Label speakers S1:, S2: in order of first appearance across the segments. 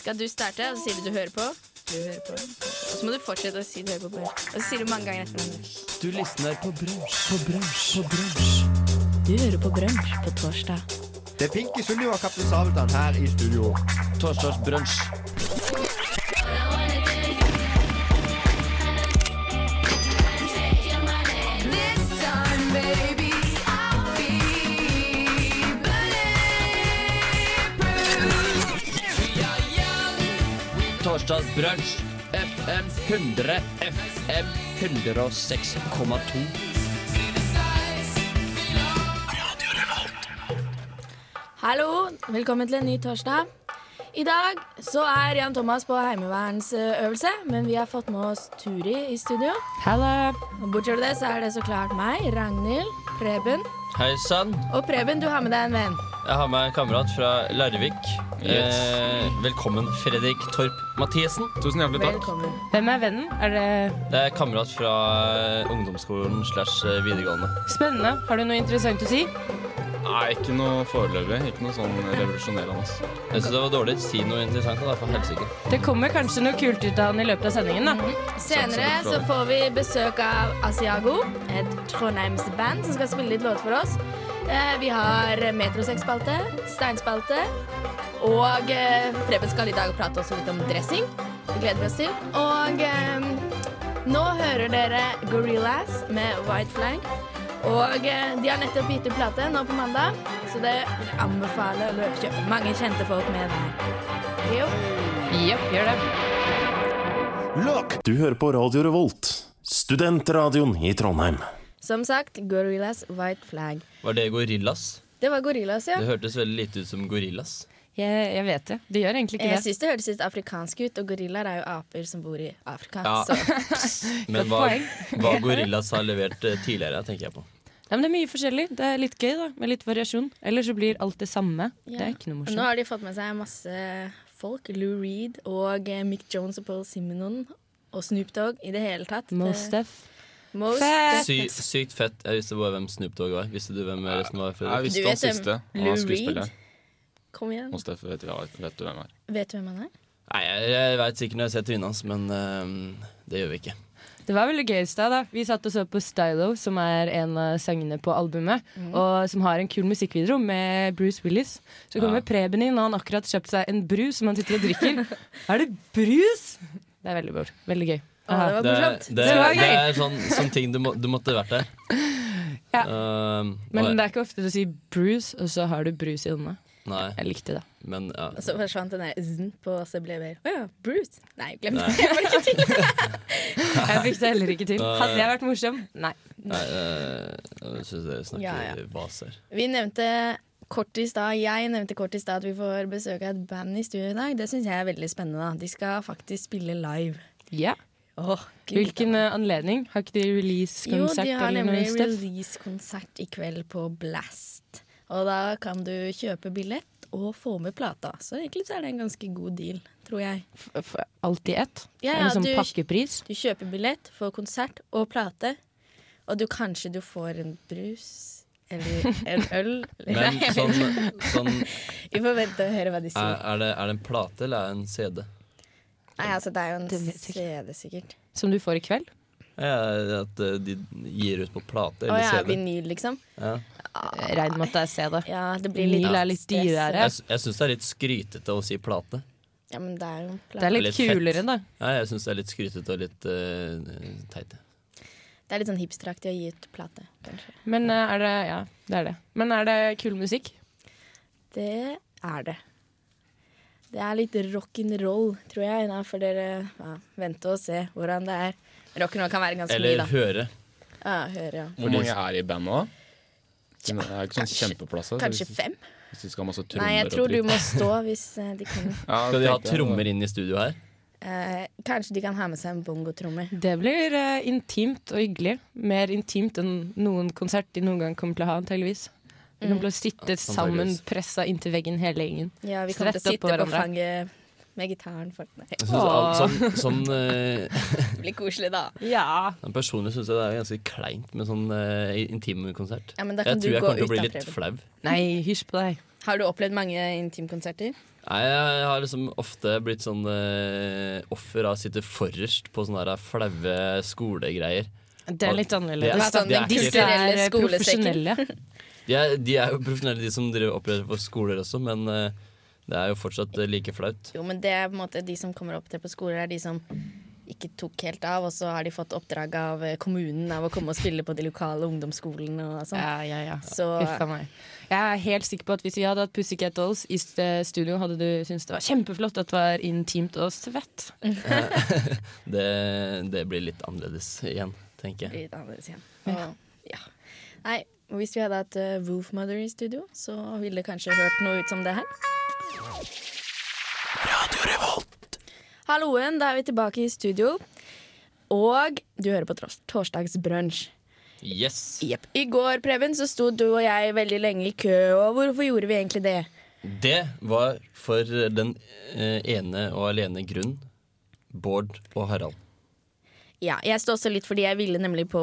S1: Skal du starte, og så sier du du hører på? Du hører på. Og så må du fortsette å si du hører på. på. Og så sier du mange ganger etter hverandre.
S2: Du lysner på brunsj, på brunsj, på brunsj.
S3: Du hører på Brunsj på torsdag.
S4: Det er Pinky Sunniva og Kaptein Sabeltann her i studio.
S2: Torsdagsbrunsj. Torsdagsbrunsj. FM 100. FM 106,2.
S1: Hallo, velkommen til en ny torsdag. I dag så er Jan Thomas på heimevernsøvelse, men vi har fått med oss Turi i studio. Og bortsett fra det så er det så klart meg, Ragnhild, Preben.
S5: Hei sann.
S1: Og Preben, du har med deg en venn.
S5: Jeg har med en kamerat fra Larvik. Eh, velkommen, Fredrik Torp Mathisen.
S6: Tusen hjertelig takk.
S1: Velkommen.
S7: Hvem er vennen? Er det
S5: Det er kamerat fra eh, ungdomsskolen slash eh, videregående.
S7: spennende? Har du noe interessant å si?
S6: Nei, ikke noe foreløpig. Ikke noe sånn revolusjonerende. ass.
S5: Jeg synes det var dårlig. Si noe interessant, da, for helsike.
S7: Det kommer kanskje noe kult ut av han i løpet av sendingen, da.
S1: Senere så får vi besøk av Asiago, et Trondheimsband som skal spille litt låter for oss. Eh, Vi har Metrosex-spalte, Steinspalte, og eh, Preben skal i dag prate også litt om dressing. Vi gleder oss til. Og eh, nå hører dere Gorillaz med White Flag. Og eh, de har nettopp gitt ut plate nå på mandag, så det vil jeg anbefale å løpe og kjøpe. Mange kjente folk med der. Jo.
S7: Jepp, gjør det.
S8: Du hører på Radio Revolt, studentradioen i Trondheim.
S1: Som sagt, Gorillaz White Flag.
S5: Var det gorillas?
S1: Det var Gorillaz, ja.
S5: Det hørtes veldig lite ut som gorillas.
S7: Jeg, jeg vet det. Det gjør egentlig
S1: Jeg
S7: ikke det.
S1: syns det hørtes litt afrikansk ut, og gorillaer er jo aper som bor i Afrika.
S5: Ja.
S1: Så
S5: Men hva,
S7: poeng.
S5: hva gorillas har levert eh, tidligere, tenker jeg på.
S7: Nei, men det er mye forskjellig. Det er litt gøy, da. Med litt variasjon. Ellers så blir alt det samme. Det er ikke noe
S1: Nå
S7: morsomt.
S1: har de fått med seg masse folk. Lou Reed og eh, Mick Jones og Paul Simonon og Snoop Dogg i det hele tatt. Eh,
S7: Mos Def.
S1: Det- Mos
S7: Fett.
S5: Sy, sykt fett. Jeg visste bare hvem Snoop Dogg var. Visste du hvem resten var?
S6: Jeg
S5: Fredrik?
S6: visste
S1: Du
S6: han
S1: vet hvem
S6: siste. Han
S1: Lou
S6: er skuespiller.
S1: Kom igjen.
S6: Hos Steff vet, vi- vet du hvem er.
S1: Vet du hvem han er?
S5: Nei, jeg, jeg veit sikkert når jeg ser trynet hans, men eh, det gjør vi ikke.
S7: Det var veldig gøy i stad. da. Vi satt og så på Stylo, som er en av sangene på albumet.
S1: Mm.
S7: Og som har en kul musikkvideo med Bruce Willis. Så kommer Preben inn, og han har akkurat kjøpt seg en brus som han sitter og drikker. er det brus?! Det er veldig, bra. veldig gøy.
S1: Å, det var
S5: Det,
S1: morsomt.
S5: det,
S7: Det var
S5: det
S7: gøy.
S5: er sånn, sånn ting du, må, du måtte vært der.
S7: Ja.
S5: Ehm,
S7: Men det
S5: nei,
S7: er ikke ofte du sier Bruce, og så har du Bruce i hånda.
S5: nei,
S7: Jeg likte det.
S5: men ja.
S1: Og så forsvant den der z-en på, og så ble det Å ja, Bruce. Nei, glem det. Jeg var ikke til.
S7: Jeg fikk det heller ikke til.
S5: Nei.
S7: Hadde jeg vært morsom? Nei.
S5: Nei, eh, jeg syns dere snakker
S1: Ja, ja.
S5: vas her.
S1: Vi nevnte kort i stad, Jeg nevnte kort i stad at vi får besøk av et band i studio i dag. Det syns jeg er veldig spennende. da. De skal faktisk spille live.
S7: Ja.
S1: Åh, gud.
S7: Hvilken eh, anledning? Har ikke de
S1: Jo,
S7: release-konsert?
S1: de har
S7: eller noe
S1: nemlig
S7: stuff?
S1: release-konsert i kveld på Blast. Og da kan du kjøpe billett og få med plata. Så egentlig så er det en ganske god deal, tror jeg.
S7: F- f- Alt i ett?
S1: Ja,
S7: er
S1: ja,
S7: det sånn
S1: du-
S7: pakkepris?
S1: Du kjøper billett, får konsert og plate, og du kanskje du får en brus eller en øl.
S5: Men
S1: Nei,
S5: sånn, sånn
S1: Vi får vente og høre hva de
S5: er,
S1: sier.
S5: er, det, er det en plate eller er det en CD?
S1: Nei, altså Det er jo
S7: Det
S1: en
S7: vet jeg
S1: CD, sikkert.
S7: Som du får i kveld?
S5: Eh, at eh, de gir ut på plate
S1: Å
S5: eller
S1: ja,
S5: CD.
S1: vinyl, liksom.
S5: Ja.
S7: Jeg Regner med at det er C, da.
S1: Ja, det blir litt
S7: Vinyl er litt
S1: stress.
S7: dyrere.
S5: Jeg, s- jeg syns det er litt skrytete å si plate.
S1: Ja, men det er jo en
S7: Det er
S1: plate.
S7: litt,
S5: Litt fett.
S7: kulere, da.
S5: Ja, jeg syns det er litt skrytete og litt eh, teit.
S1: Det er litt sånn hipsteraktig å gi ut plate, kanskje.
S7: Men eh, er det Ja, det er det. Men er det kul musikk?
S1: Det er det. Det er litt rock'n'roll, tror jeg, da får dere ja, vente og se hvordan det er. Rock'n'roll kan være ganske
S5: Eller
S1: mye, da.
S5: høre.
S1: Ja, høre, ja.
S6: Hvor mange er i bandet da? Det er ikke sånn kjempeplass
S5: altså,
S6: her. så
S1: Kanskje
S6: hvis,
S1: fem?
S6: hvis du skal ha masse trommer
S1: Nei, jeg tror du må stå hvis eh, de kan
S5: Skal de ha trommer inn i studio her?
S1: eh, Kanskje de kan ha med seg en bongotromme.
S7: Det blir eh, intimt og hyggelig. Mer intimt enn noen konsert de noen gang kommer til å ha, antageligvis. Vi kommer til å sitte sammen,
S5: Antageligvis.
S7: pressa inntil veggen hele gjengen.
S1: Ja, vi kommer til å
S7: Svette oppå
S1: sitte på
S7: hverandre.
S1: fanget med gitaren. For, nei,
S5: Jeg synes, all- sånn, sånn eh,
S1: det blir koselig, da.
S7: Ja.
S5: Men Personlig syns jeg det er ganske kleint med sånn uh, intimkonsert.
S1: Ja, men da
S5: jeg
S1: kan du
S5: tror jeg
S1: gå
S5: kommer til å
S1: ut
S5: bli
S1: da,
S5: litt
S1: Preben.
S5: flau.
S7: Nei, hysj på deg.
S1: Har du opplevd mange intimkonserter?
S5: Nei, jeg har liksom ofte blitt sånn eh, offer av å sitte forrest på sånne her flaue skolegreier.
S7: Det er litt
S5: Det
S7: annerledes.
S5: er-
S1: Sånn,
S5: det er
S1: den
S5: ikke-
S1: kulturelle
S7: Disse er
S1: skolesekken.
S7: profesjonelle.
S5: De er, de er jo profesjonelle, de som driver opplever på skoler også, men eh, det er jo fortsatt eh, like flaut.
S1: Jo, men det er på en måte de som kommer opp til på skoler, er de som ikke tok helt av, og så har de fått oppdrag av eh, kommunen av å komme og spille på de lokale ungdomsskolene og sånn.
S7: Ja, ja, ja.
S1: Så
S7: Uff a meg. Jeg er helt sikker på at hvis vi hadde hatt Pussycat Dolls i st- studio, hadde du syntes det var kjempeflott at det var intimt og svett.
S5: Det, det blir litt annerledes igjen, tenker jeg.
S1: litt annerledes igjen. Og, ja. Nei, hvis vi hadde hatt eh, Roofmother i studio, så ville det kanskje hørt noe ut som det her. Halloen, da er vi tilbake i studio. Og du hører på tors- Torsdagsbrunsj.
S5: Yes!
S1: Jepp. I går, Preben, så sto du og jeg veldig lenge i kø, og hvorfor gjorde vi egentlig det?
S5: Det var for den eh, ene og alene grunn, Bård og Harald.
S1: Ja, jeg står også litt fordi jeg ville nemlig på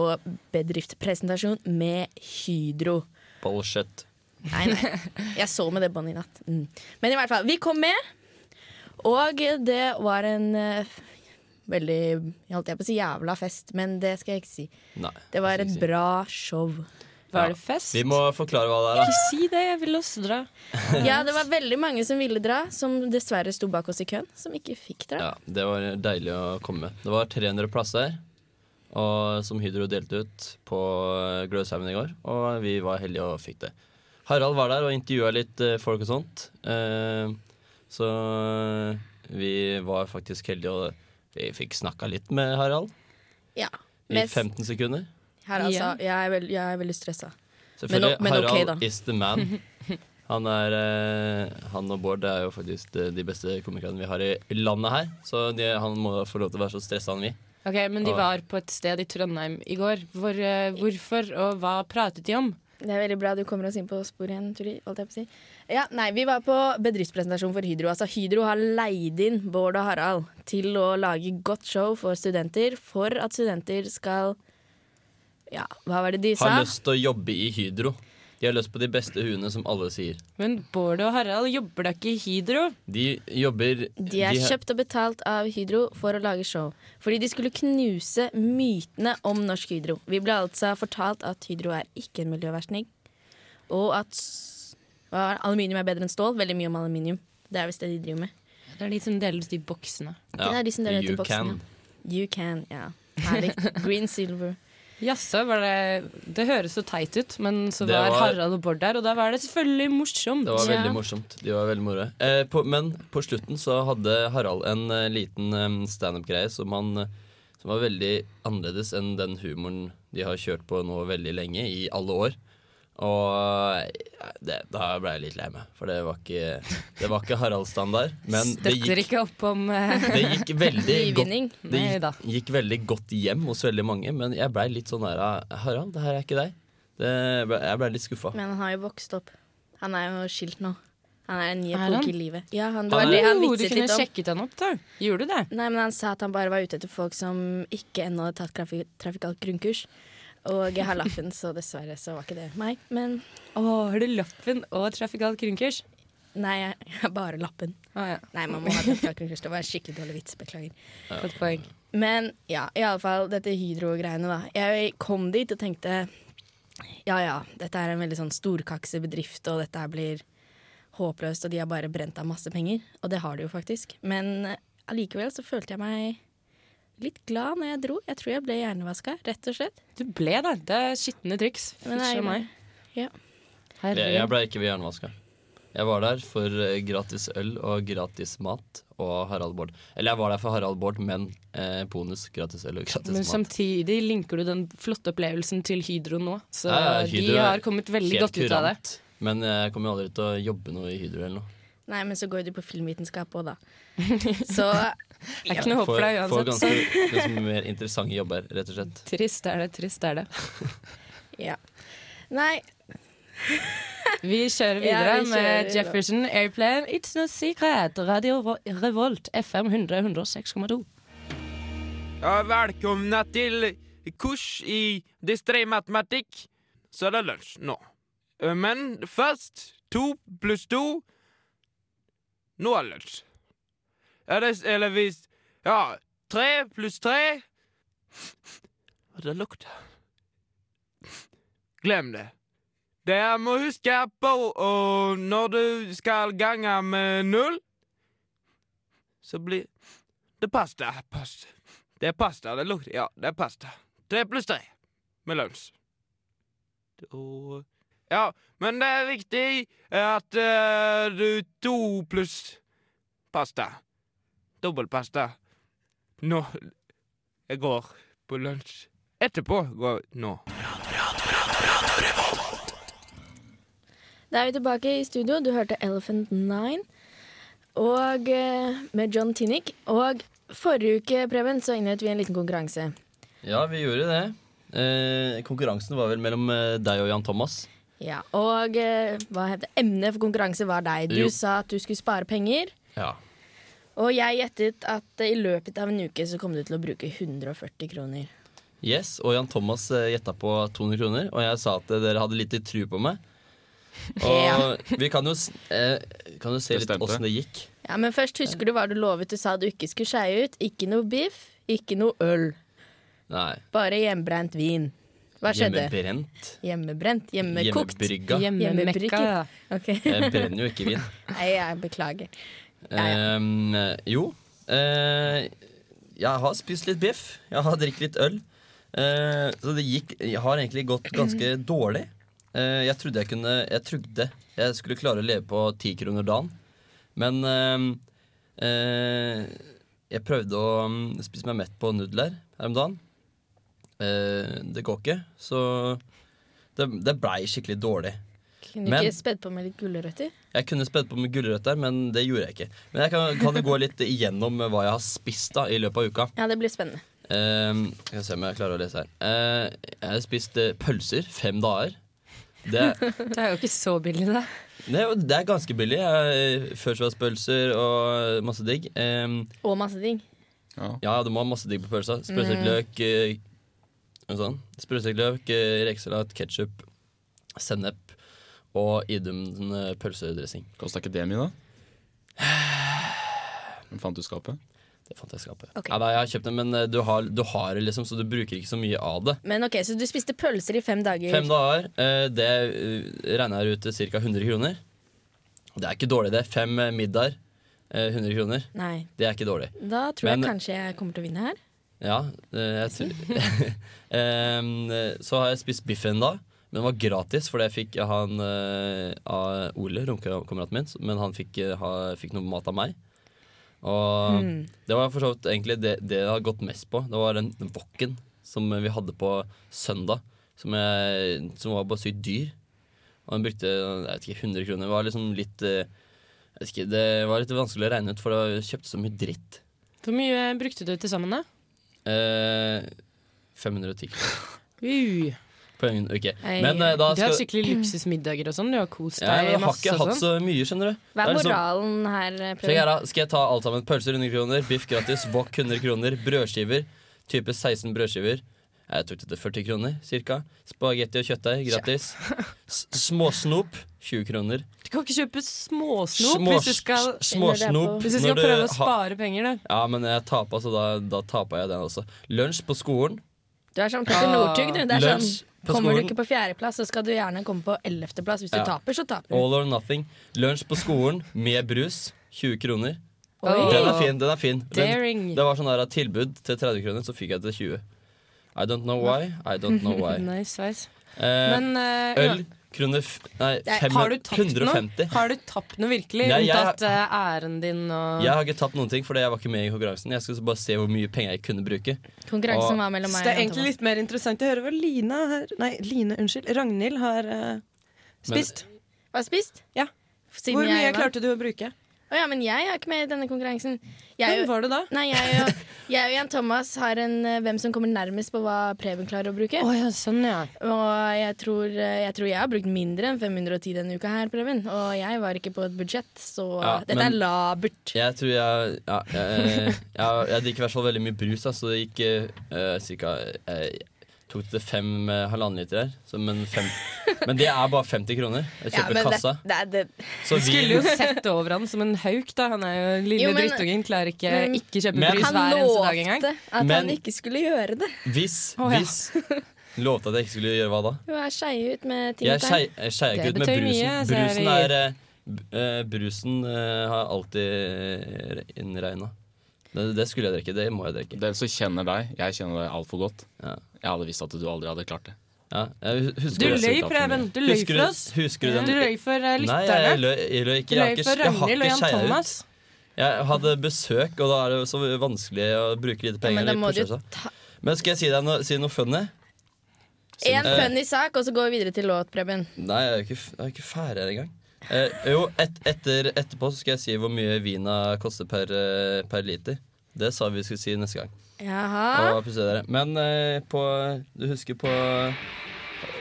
S1: bedriftspresentasjon med Hydro.
S5: Bullshit.
S1: Nei, nei. Jeg så med det båndet i natt. Mm. Men i hvert fall, vi kom med, og det var en eh, veldig Jeg holdt jeg på å si jævla fest, men det skal jeg ikke si.
S5: Nei.
S1: Det var
S5: skal
S1: et
S5: jeg ikke si.
S1: bra show.
S7: Var det fest?
S5: Vi må forklare hva det er, da.
S7: Ikke si det, jeg vil også dra.
S1: Ja, det var veldig mange som ville dra, som dessverre sto bak oss i køen, som ikke fikk dra.
S5: Ja, det var deilig å komme med. Det var 300 plasser og, som Hydro delte ut på eh, Gløshaugen i går, og vi var heldige og fikk det. Harald var der og intervjua litt eh, folk og sånt. Eh, så eh, vi var faktisk heldige, og vi fikk snakka litt med Harald
S1: Ja.
S5: i
S1: Mens
S5: 15 sekunder.
S1: her, altså,
S7: Igjen.
S1: jeg er, veld, jeg er veldig stressa.
S5: Selvfølgelig,
S1: Men o- men ok,
S5: Harald
S1: da.
S5: is the man. Han, er, eh, han og Bård det er jo faktisk de de beste komikerne vi har i landet her, så de, han må få lov til å være så stressa han vil.
S7: Ok, Men de var på et sted i Trondheim i går. Hvor, eh, hvorfor, og hva pratet de om?
S1: Det er veldig bra du kommer oss inn på sporet igjen, Turi. Holdt jeg på å si. Ja, nei, vi var på bedriftspresentasjon for Hydro. Altså, Hydro har leid inn Bård og Harald til å lage godt show for studenter, for at studenter skal Ja, hva var det de
S5: Har
S1: sa?
S5: lyst til å jobbe i Hydro. De har lyst på de beste huene, som alle sier.
S7: Men Bård og Harald jobber da ikke i Hydro?
S5: De jobber
S1: De er kjøpt og betalt av Hydro for å lage show. Fordi de skulle knuse mytene om norsk Hydro. Vi ble altså fortalt at Hydro er ikke en miljøversting. Og at s- hva er det? aluminium er bedre enn stål. Veldig mye om aluminium. Det er visst det de driver med.
S7: Det er de som deler ut de boksene.
S5: Ja,
S1: Det er de som deler ut i
S5: you
S1: boksen,
S5: can.
S1: ja. You can, ja. Herlig. Green silver.
S7: Jaså, var det Det høres så teit ut, men så
S5: Det
S7: var,
S5: var-
S7: Harald og Bård der, og da var det selvfølgelig morsomt.
S5: Det var
S1: Ja.
S5: veldig morsomt. De var veldig moro. Eh, på, men på slutten så hadde Harald en eh, liten eh, standup-greie som, han, eh, som var veldig annerledes enn den humoren de har kjørt på nå veldig lenge, i alle år. Og eh, det, da ble jeg litt lei meg, for det var ikke, det var ikke Harald-standard. Men det
S7: Støtter
S5: gikk,
S7: ikke opp om eh,
S5: det gikk veldig godt
S1: Nyvinning.
S5: Det
S7: Nei da.
S5: gikk, gikk veldig godt hjem hos veldig mange, men jeg blei litt sånn der Harald, det her er ikke deg. Det ble, jeg blei litt skuffa.
S1: Men han har jo vokst opp. Han er jo skilt nå. Han er en ny
S7: Er han?
S1: epoke i livet. Ja, han, det
S5: Han
S1: var
S5: er-
S1: det han
S7: Oh, Du
S1: vitset
S7: kunne
S1: litt om.
S7: sjekket han opp, da. Gjorde du det?
S1: Nei, men Han sa at han bare var ute etter folk som ikke ennå hadde tatt grafi- trafikalt grunnkurs. Og jeg har lappen, så dessverre så var ikke det meg. Men
S7: Å, har du lappen og trafikalt grunnkurs?
S1: nei, jeg har bare lappen.
S7: Å ja,
S1: Nei, man må ha trafikalt grunnkurs. Det var en skikkelig dårlig vits. Beklager.
S7: godt poeng.
S1: Men ja, i alle fall dette Hydro-greiene, da. Jeg kom dit og tenkte ja ja, dette er en veldig sånn storkaksebedrift, og dette her blir håpløst, og de har bare brent av masse penger. Og det har de jo faktisk. Men eh, allikevel så følte jeg meg litt glad når jeg dro. Jeg tror jeg ble hjernevaska, rett og slett.
S7: Du ble det. Det er skitne triks.
S1: Men
S7: Fysj
S1: jeg-
S7: og meg.
S1: ja.
S7: Herre.
S5: Jeg, jeg blei ikke ved jernvaska. Jeg var der for eh, gratis øl og gratis mat og Harald Bård. Eller jeg var der for Harald Bård, men eh, bonus gratis øl og gratis
S7: Men
S5: mat.
S7: samtidig linker du den flotte opplevelsen til Hydro nå, så
S5: Ja, ja, Hydro
S7: de
S5: er
S7: har kommet veldig
S5: Helt
S7: godt ut av det.
S5: kurant. Men jeg kommer jo aldri til å jobbe noe i Hydro eller noe.
S1: Nei, men så går du på filmvitenskap òg, da. Så
S7: Det er ikke noe håp
S5: Får,
S7: for deg
S5: får
S7: uansett.
S5: ganske, ganske mer interessante jobber, rett og slett.
S7: Trist er det, trist er det.
S1: ja. Nei,
S7: Vi kjører videre
S1: Ja, vi kjører
S7: med
S1: videre.
S7: Jefferson Airplane. It's no secret. Radio Ro- Revolt FM 100 106,2.
S9: Ja, välkomna till kurs i distré matematik. Så är det lunch nå. Eh, Men först to pluss to Knowledge. Ja, det, eller hvis Ja, tre pluss tre Hva det lukter Glem det. Dere må huske på og når du skal gange med null, så blir det pasta. pasta. Det er pasta. Det lukter Ja, det er pasta. Tre pluss tre med lunsj. Og Ja, men det er viktig at eh, du to pluss pasta. Dobbeltpasta. Nå Jeg går på lunsj. Etterpå går nå.
S1: Da er vi tilbake i studio. Du hørte Elephant Nine og, eh, med John Tinnick. Og forrige uke, Preben, så innledet vi en liten konkurranse.
S5: Ja, vi gjorde det. Eh, konkurransen var vel mellom eh, deg og Jan Thomas.
S1: Ja, og eh, hva heter emnet for konkurranse var deg. Du
S5: Jo.
S1: sa at du skulle spare penger.
S5: Ja.
S1: Og jeg gjettet at eh, i løpet av en uke så kom du til å bruke 140 kroner.
S5: Yes, og Jan Thomas eh, gjetta på 200 kroner, og jeg sa at eh, dere hadde litt tru på meg.
S1: Ja.
S5: Og vi kan jo, s- eh, kan jo se
S6: Det
S5: litt
S6: stemte.
S5: åssen det gikk.
S1: Ja, Men først husker du hva du lovet. Du sa du ikke skulle skeie ut. Ikke noe biff, ikke noe øl.
S5: Nei,
S1: Bare hjemmebrent vin. Hva skjedde?
S5: hjemmebrent.
S1: Hjemmebrent? Hjemmekokt?
S5: Hjemmebrygga.
S7: Hjemmemekka.
S1: Hjemmebrygget.
S7: Ja.
S1: Ok.
S5: Jeg brenner jo ikke vin.
S1: Nei, jeg beklager. Ja,
S5: Ehm, jo. eh, jeg har spist litt biff. Jeg har drikket litt øl. Eh, så det gikk Jeg har egentlig gått ganske dårlig. Eh, jeg trodde jeg kunne Jeg trodde jeg skulle klare å leve på ti kroner dagen. Men ehm, eh, jeg prøvde å mm, spise meg mett på nudler her om dagen. Eh, det går ikke, så det, det blei skikkelig dårlig.
S1: Kunne du
S5: Men-
S1: ikke spedd på med litt gulrøtter?
S5: Jeg kunne spedd på med gulrøtter, men det gjorde jeg ikke. Men jeg kan, kan jo gå litt igjennom hva jeg har spist da i løpet av uka.
S1: Ja, det blir spennende.
S5: Ehm, skal vi se om jeg klarer å lese her. Eh, jeg har spist eh, pølser fem dager. Det,
S7: Det er jo ikke så billig, det.
S5: det, er jo- det er ganske billig. Jeg- eh, Førsværspølser og masse digg. Ehm,
S1: Og masse ting.
S5: ja, du må ha masse digg på pølsa. Sprøstekt løk, eh, noe sånt. Sprøstekt løk, eh, rekesalat, ketsjup, sennep og idum eh, pølsedressing.
S6: Kosta ikke det mye, da? Men fant du skapet?
S5: Det fant jeg i skapet.
S1: Ok.
S5: Ja, nei, jeg har kjøpt det, men eh, du har, du har det liksom, så du bruker ikke så mye av det.
S1: Men ok, Så du spiste pølser i fem dager?
S5: Fem dager, eh, det eh, regner jeg ut til ca. 100 kroner. Det er ikke dårlig, det. Fem eh, middager, eh, 100 kroner.
S1: Nei.
S5: Det er ikke dårlig.
S1: Da tror
S5: Men-
S1: jeg kanskje jeg kommer til å vinne her.
S5: Ja, eh, jeg tror Em, eh, Så har jeg spist biff en dag, men den var gratis, fordi jeg fikk han eh, av Ole, romkameraten min, så- men han fikk, eh, ha, fikk noe mat av meg. Og det var for så vidt egentlig det, det jeg har gått mest på. Det var den wokken som vi hadde på søndag, som, jeg, som var bare sykt dyr. Og den brukte jeg vet ikke, 100 kroner. Det var liksom litt eh, jeg vet ikke, Det var litt vanskelig å regne ut, for jeg kjøpte så mye dritt.
S7: Hvor mye brukte du til sammen, da?
S5: Eh, 510 kroner
S7: Uh,
S5: på en uke.
S1: Ei.
S5: Men eh, da
S7: du har
S5: skal
S7: hatt skikkelig luksusmiddager og sånn. Du har kost
S5: ja,
S7: deg
S5: jeg har
S7: masse
S5: ikke
S7: og
S5: hatt
S7: sånn.
S5: så mye, skjønner du.
S1: Hva
S5: Det
S1: er
S5: liksom-
S1: moralen her? eh,
S5: Sjekk her
S1: Preben?
S5: da, Skal jeg ta alt sammen? Pølser 100 kroner, biff gratis, wok 100 kroner, brødskiver. Type 16 brødskiver. Jeg tok det til 40 kroner ca. Spagetti og kjøttdeig gratis. S småsnop 20 kroner.
S7: Du kan ikke kjøpe småsnop
S5: Små-
S7: hvis du skal,
S5: s- småsnop
S7: hvis du skal
S5: når
S7: prøve å
S5: ha-
S7: spare penger, du.
S5: Ja, men jeg tapa, så da, da tapa jeg den også. Lunsj på skolen.
S1: Du er sånn Petter
S7: Ah.
S1: Northug, du. Det er sånn,
S5: Lunsj på
S1: kommer du
S5: skolen.
S1: ikke på fjerdeplass, så skal du gjerne komme på ellevteplass. Hvis du
S5: Ja.
S1: taper, så taper du.
S5: All or nothing. Lunsj på skolen med brus. 20 kroner.
S1: Oi.
S5: Den er fin. den er fin Men
S7: Daring.
S5: Det var sånn der at tilbud til 30 kroner, så fikk jeg til 20. I don't know why, I don't know why.
S7: Nice, nice.
S5: Eh,
S7: Men eh,
S5: øl, kroner f Nei,
S7: Nei,
S5: fem-
S7: har du tapt noe?
S5: 150.
S7: Har du tapt noe virkelig?
S5: Nei, jeg-
S7: Unntatt eh, æren din og
S5: Jeg har ikke tapt noen ting, fordi jeg var ikke med i konkurransen. Jeg skulle bare se hvor mye penger jeg kunne bruke. Og-
S1: Konkurransen var mellom
S7: Så
S1: meg
S7: det er
S1: og
S7: egentlig
S1: Thomas.
S7: litt mer interessant å høre hva Lina her Nei, Line, unnskyld. Ragnhild har eh, spist.
S1: Hva har du spist?
S7: Ja.
S1: Siden
S7: Hvor mye
S1: jeg vant.
S7: klarte du å bruke?
S1: Å ja, men jeg er ikke med i denne konkurransen. Jeg,
S7: Hvem
S1: er jo-
S7: var det da?
S1: nei, jeg, og, jeg og Jan Thomas har en eh, hvem som kommer nærmest på hva Preben klarer å bruke.
S7: Å ja, sånn, ja.
S1: Og jeg tror, eh, jeg tror jeg har brukt mindre enn 510 denne uka her, Preben. Og jeg var ikke på et budsjett, så
S5: Ja,
S1: dette
S5: men-
S1: er labert.
S5: Jeg tror jeg Ja, jeg, jeg, jeg drikker i hvert fall veldig mye brus, da, så det gikk eh, eh, cirka eh, Tok det fem eh, halvannen liter her. Så, men, fem, men det er bare 50 kroner. Jeg
S10: Ja,
S5: kjøper
S10: men det,
S5: kassa.
S10: det, det,
S5: Så vi-
S7: Skulle jo sett over han som en hauk, da. Han er jo en lille
S10: Jo, men-
S7: drittungen. Klarer ikke
S10: Men-
S7: ikke kjøpe
S5: Men-
S7: brus
S10: han
S7: hver eneste dag engang.
S10: lovte at
S5: Men-
S10: han ikke skulle gjøre det.
S5: Hvis,
S7: Å, ja.
S5: hvis Lovte at jeg ikke skulle gjøre hva da?
S10: Hun er skeie ut med ting
S5: Jeg
S10: og tang.
S5: skei- jeg skeier ikke
S7: Det
S5: ut med
S7: betyr
S5: brusen.
S7: mye, så er
S5: brusen
S7: vi-
S5: er eh, b- eh, Brusen eh, har alltid innregna. Det, det skulle jeg drikke. Det må jeg drikke.
S6: Den som kjenner deg, jeg kjenner deg altfor godt.
S5: Ja.
S6: Jeg hadde visst at du aldri hadde klart det.
S5: Ja, jeg hus-
S7: Du
S5: husker
S7: løy, Preben. Du løy
S5: Husker
S7: for
S5: du-
S7: oss.
S5: Husker du den?
S7: Du løy for
S5: Nei,
S7: eh,
S5: jeg, jeg
S7: lytterne.
S5: løy, jeg løy ikke. Jeg
S7: Du løy
S5: har ikke,
S7: for
S5: jeg har
S7: Ragnhild og
S5: ikke
S7: Jan
S5: skeia ut.
S7: Thomas.
S5: Jeg hadde besøk, og da er det så vanskelig å bruke lite
S10: Ja,
S5: penger.
S10: men da
S5: litt
S10: må du
S5: påkjørsel.
S10: ta
S5: men skal jeg si deg noe, si noe funny?
S10: en
S5: Eh,
S10: funny sak, og så går vi videre til låt, Preben.
S5: Nei, jeg er ikke, f- jeg er ikke ferdig her engang. Eh, jo, et, etter, etterpå så skal jeg si hvor mye vina koster per, eh, per liter. Det sa vi skulle si neste gang.
S10: Jaha.
S5: Og plutselig dere. Men eh, på, du husker på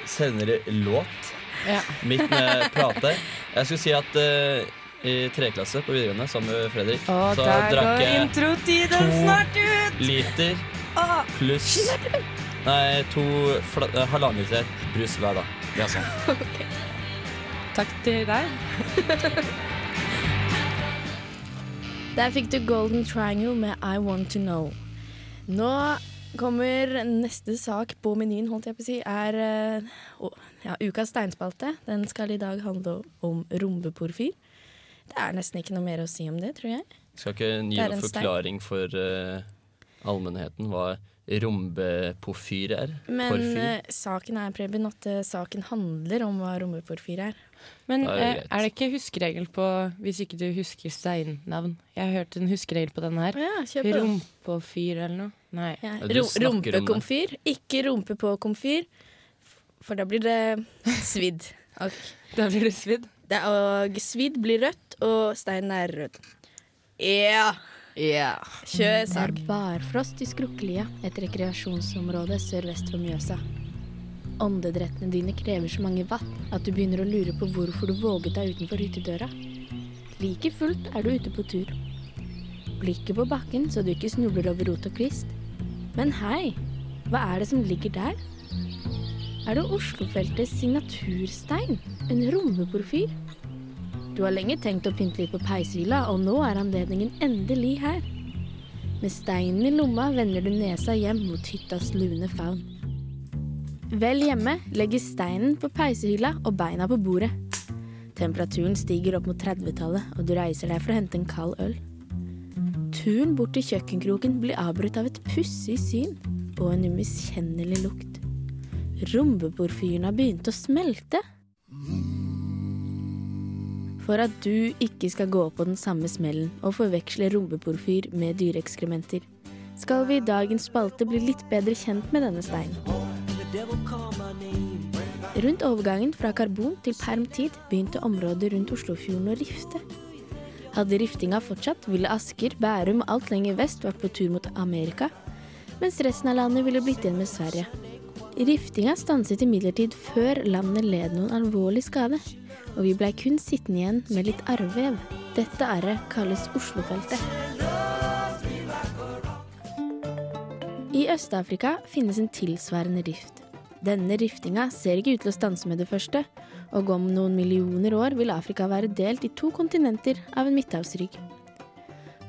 S5: senere låt,
S7: Ja.
S5: midt med plate. Jeg skulle si at eh, i treklasse på videregående sammen med Fredrik,
S7: Og
S5: så
S7: der
S5: drakk
S7: går
S5: jeg
S7: introtiden
S5: to-
S7: snart ut!
S5: liter pluss Nei, to fla- eh, halvannen liter brus hver dag.
S6: Det er sant.
S7: Takk til deg.
S10: Der fikk du Golden Triangle med I Want To Know. Nå kommer neste sak på menyen, holdt jeg på å si, er eh, å- ja, ukas steinspalte. Den skal i dag handle om rombeporfyr. Det er nesten ikke noe mer å si om det, tror jeg.
S5: Skal ikke gi
S10: Det er
S5: noen
S10: en stein.
S5: forklaring for eh, allmennheten hva rombepofyr er.
S10: Men
S5: Porfyr.
S10: eh, saken er, Preben, at eh, saken handler om hva rombeporfyr er.
S7: Men
S5: Da er det
S7: eh,
S5: greit.
S7: er det ikke huskeregel på Hvis ikke du husker steinnavn? Jeg har hørt en huskeregel på denne her.
S10: Ja, kjør på.
S7: Rumpefyr eller noe? Nei.
S10: Ja,
S5: du
S10: ro-
S5: snakker om det.
S10: Rumpekomfyr. Ikke rumpe på komfyr, f- for da blir det svidd. Ok.
S7: Da blir det svidd.
S10: Det er, og svidd blir rødt, og steinen er rød. Ja! Kjør sak.
S1: Barfrost i Skrukkelia, et rekreasjonsområde sørvest for Mjøsa. Åndedrettene dine krever så mange watt at du begynner å lure på hvorfor du våget deg utenfor hyttedøra. Like fullt er du ute på tur. Blikket på bakken så du ikke snubler over rot og kvist. Men hei, hva er det som ligger der? Er det Oslofeltets signaturstein? En rombeporfyr? Du har lenge tenkt å pynte litt på peishylla, og nå er anledningen endelig her. Med steinen i lomma vender du nesa hjem mot hyttas lune favn. Vel hjemme legges steinen på peisehylla og beina på bordet. Temperaturen stiger opp mot 30-tallet, og du reiser deg for å hente en kald øl. Turen bort til kjøkkenkroken blir avbrutt av et pussig syn og en umiskjennelig lukt. Rombeporfyren har begynt å smelte. For at du ikke skal gå på den samme smellen og forveksle rumpeporfyr med dyreekskrementer, skal vi i dagens spalte bli litt bedre kjent med denne steinen. Rundt overgangen fra karbon til permtid begynte området rundt Oslofjorden å rifte. Hadde riftinga fortsatt, ville Asker, Bærum og alt lenger vest vært på tur mot Amerika, mens resten av landet ville blitt igjen med Sverige. Riftinga stanset imidlertid før landet led noen alvorlig skade, og vi blei kun sittende igjen med litt arrvev. Dette arret kalles Oslofeltet. I Øst-Afrika finnes en tilsvarende rift. Denne riftinga ser ikke ut til å stanse med det første, og om noen millioner år vil Afrika være delt i to kontinenter av en midthavsrygg.